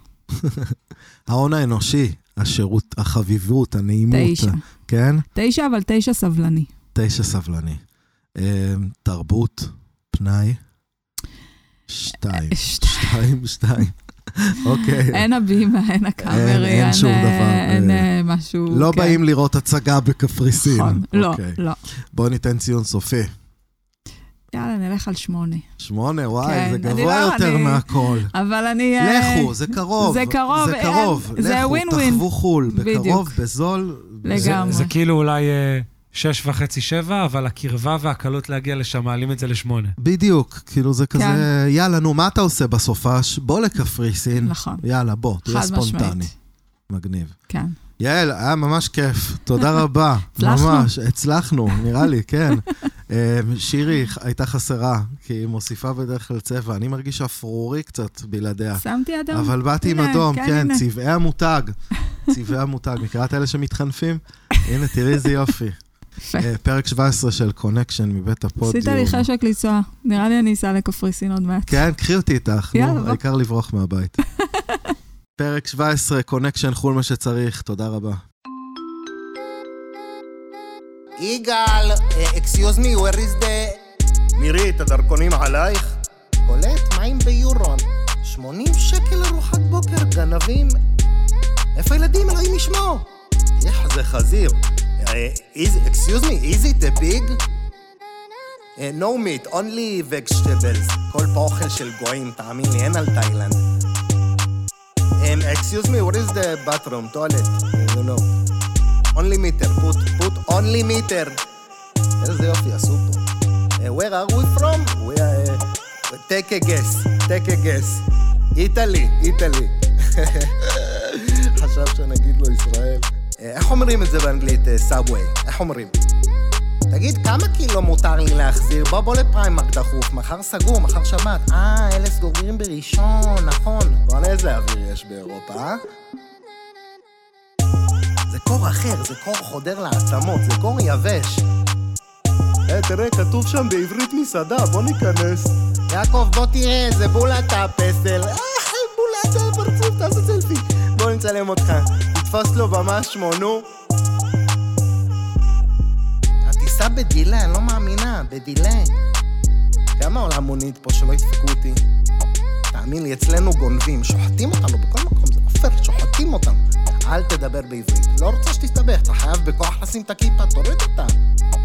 [SPEAKER 1] ההון האנושי, השירות, החביבות, הנעימות.
[SPEAKER 2] תשע.
[SPEAKER 1] כן?
[SPEAKER 2] תשע, אבל תשע סבלני.
[SPEAKER 1] תשע סבלני. אמ, תרבות, פנאי, שתיים.
[SPEAKER 2] שתיים.
[SPEAKER 1] שתיים, שתיים. אוקיי.
[SPEAKER 2] אין הבימה, אין
[SPEAKER 1] אין-
[SPEAKER 2] הקאמרי,
[SPEAKER 1] אין
[SPEAKER 2] אין
[SPEAKER 1] שום
[SPEAKER 2] אה,
[SPEAKER 1] דבר,
[SPEAKER 2] אין
[SPEAKER 1] אה,
[SPEAKER 2] אה, משהו...
[SPEAKER 1] לא
[SPEAKER 2] כן.
[SPEAKER 1] באים לראות הצגה בקפריסין.
[SPEAKER 2] נכון, לא,
[SPEAKER 1] אוקיי.
[SPEAKER 2] לא.
[SPEAKER 1] בואו ניתן ציון סופי.
[SPEAKER 2] יאללה, נלך על שמונה.
[SPEAKER 1] שמונה, וואי,
[SPEAKER 2] כן,
[SPEAKER 1] זה
[SPEAKER 2] אני
[SPEAKER 1] גבוה
[SPEAKER 2] לא-
[SPEAKER 1] יותר
[SPEAKER 2] אני-
[SPEAKER 1] מהכל.
[SPEAKER 2] אבל אני... אה,
[SPEAKER 1] לכו, זה קרוב.
[SPEAKER 2] זה קרוב,
[SPEAKER 1] זה
[SPEAKER 2] אה,
[SPEAKER 1] קרוב.
[SPEAKER 2] זה
[SPEAKER 1] לכו,
[SPEAKER 2] win-win.
[SPEAKER 1] תחוו חו"ל, בקרוב,
[SPEAKER 2] בדיוק.
[SPEAKER 1] בזול.
[SPEAKER 5] זה-
[SPEAKER 2] לגמרי.
[SPEAKER 5] זה כאילו אולי אה, שש וחצי, שבע, אבל הקרבה והקלות להגיע לשם מעלים את זה לשמונה.
[SPEAKER 1] בדיוק, כאילו זה כזה, יאללה, נו, מה אתה עושה בסופש? בוא לקפריסין.
[SPEAKER 2] כן. נכון.
[SPEAKER 1] יאלה, בוא,
[SPEAKER 2] חד
[SPEAKER 1] תהיה ספונטני.
[SPEAKER 2] משמעית.
[SPEAKER 1] מגניב.
[SPEAKER 2] כן.
[SPEAKER 1] יעל, היה ממש כיף. תודה רבה.
[SPEAKER 2] הצלחנו.
[SPEAKER 1] ממש, הצלחנו, נראה לי, כן. אה, שירי הייתה חסרה, כי היא מוסיפה בדרך כלל צבע. אני מרגיש אפרורי קצת בלעדיה.
[SPEAKER 2] שמתי אדום.
[SPEAKER 1] אה, אבל באתי עם
[SPEAKER 2] הנה,
[SPEAKER 1] אדום,
[SPEAKER 2] כן,
[SPEAKER 1] כן,
[SPEAKER 2] הנה.
[SPEAKER 1] צבעי המותג. צבעי המותג, מכירה את אלה שמתחנפים? הנה, תראי איזה יופי.
[SPEAKER 2] יפה.
[SPEAKER 1] אה, פרק 17 של קונקשן מבית הפודיום.
[SPEAKER 2] עשית לי חשק לנסוע. נראה לי אני אסע לקפריסין עוד מעט.
[SPEAKER 1] כן, קחי אותי איתך,
[SPEAKER 2] יאללה,
[SPEAKER 1] נו,
[SPEAKER 2] בוא.
[SPEAKER 1] העיקר לברוח מהבית. פרק 17, קונקשן, חול מה שצריך, תודה רבה.
[SPEAKER 3] יגאל, אקסיוז מי, where is the...
[SPEAKER 4] מירי, את הדרכונים עלייך?
[SPEAKER 3] קולט, מה עם ביורון? 80 שקל ארוחת בוקר, גנבים. איפה הילדים, אלוהים ישמור? אה, איך זה חזיר. אקסיוז מי, is it a big? אה, No meat, only vegetables. כל פה אוכל של גויים, תאמין לי, אין על תאילנד. Um, excuse me, what is the bathroom? toilet? I don't know. Only meter, put, put only meter. איזה יופי עשו פה. Uh, where are we from? We are... Uh, take a guess, take a guess. איטלי, איטלי. חשב שנגיד לו ישראל. Uh, איך אומרים את זה באנגלית, סאבווי? איך אומרים? תגיד, כמה קילו מותר לי להחזיר? בוא בוא לפריימרק דחוף, מחר סגור, מחר שבת. אה, אלה סגורים בראשון, נכון. בוא'נה איזה אוויר יש באירופה, אה? זה קור אחר, זה קור חודר לעצמות, זה קור יבש.
[SPEAKER 4] אה, תראה, כתוב שם בעברית מסעדה, בוא ניכנס.
[SPEAKER 3] יעקב, בוא תראה, זה בולטה הפסל. אה, בולטה הפרצוף, תעשה סלפי. בוא נצלם אותך. תתפוס לו במה שמו, נו. הטיסה בדילה, אני לא מאמינה, בדילה. כמה עולה מונית פה שלא ידפקו אותי? תאמין לי, אצלנו גונבים, שוחטים אותנו בכל מקום, זה לא פייר, שוחטים אותנו. אל תדבר בעברית, לא רוצה שתסתבך, אתה חייב בכוח לשים את הכיפה, תוריד אותה.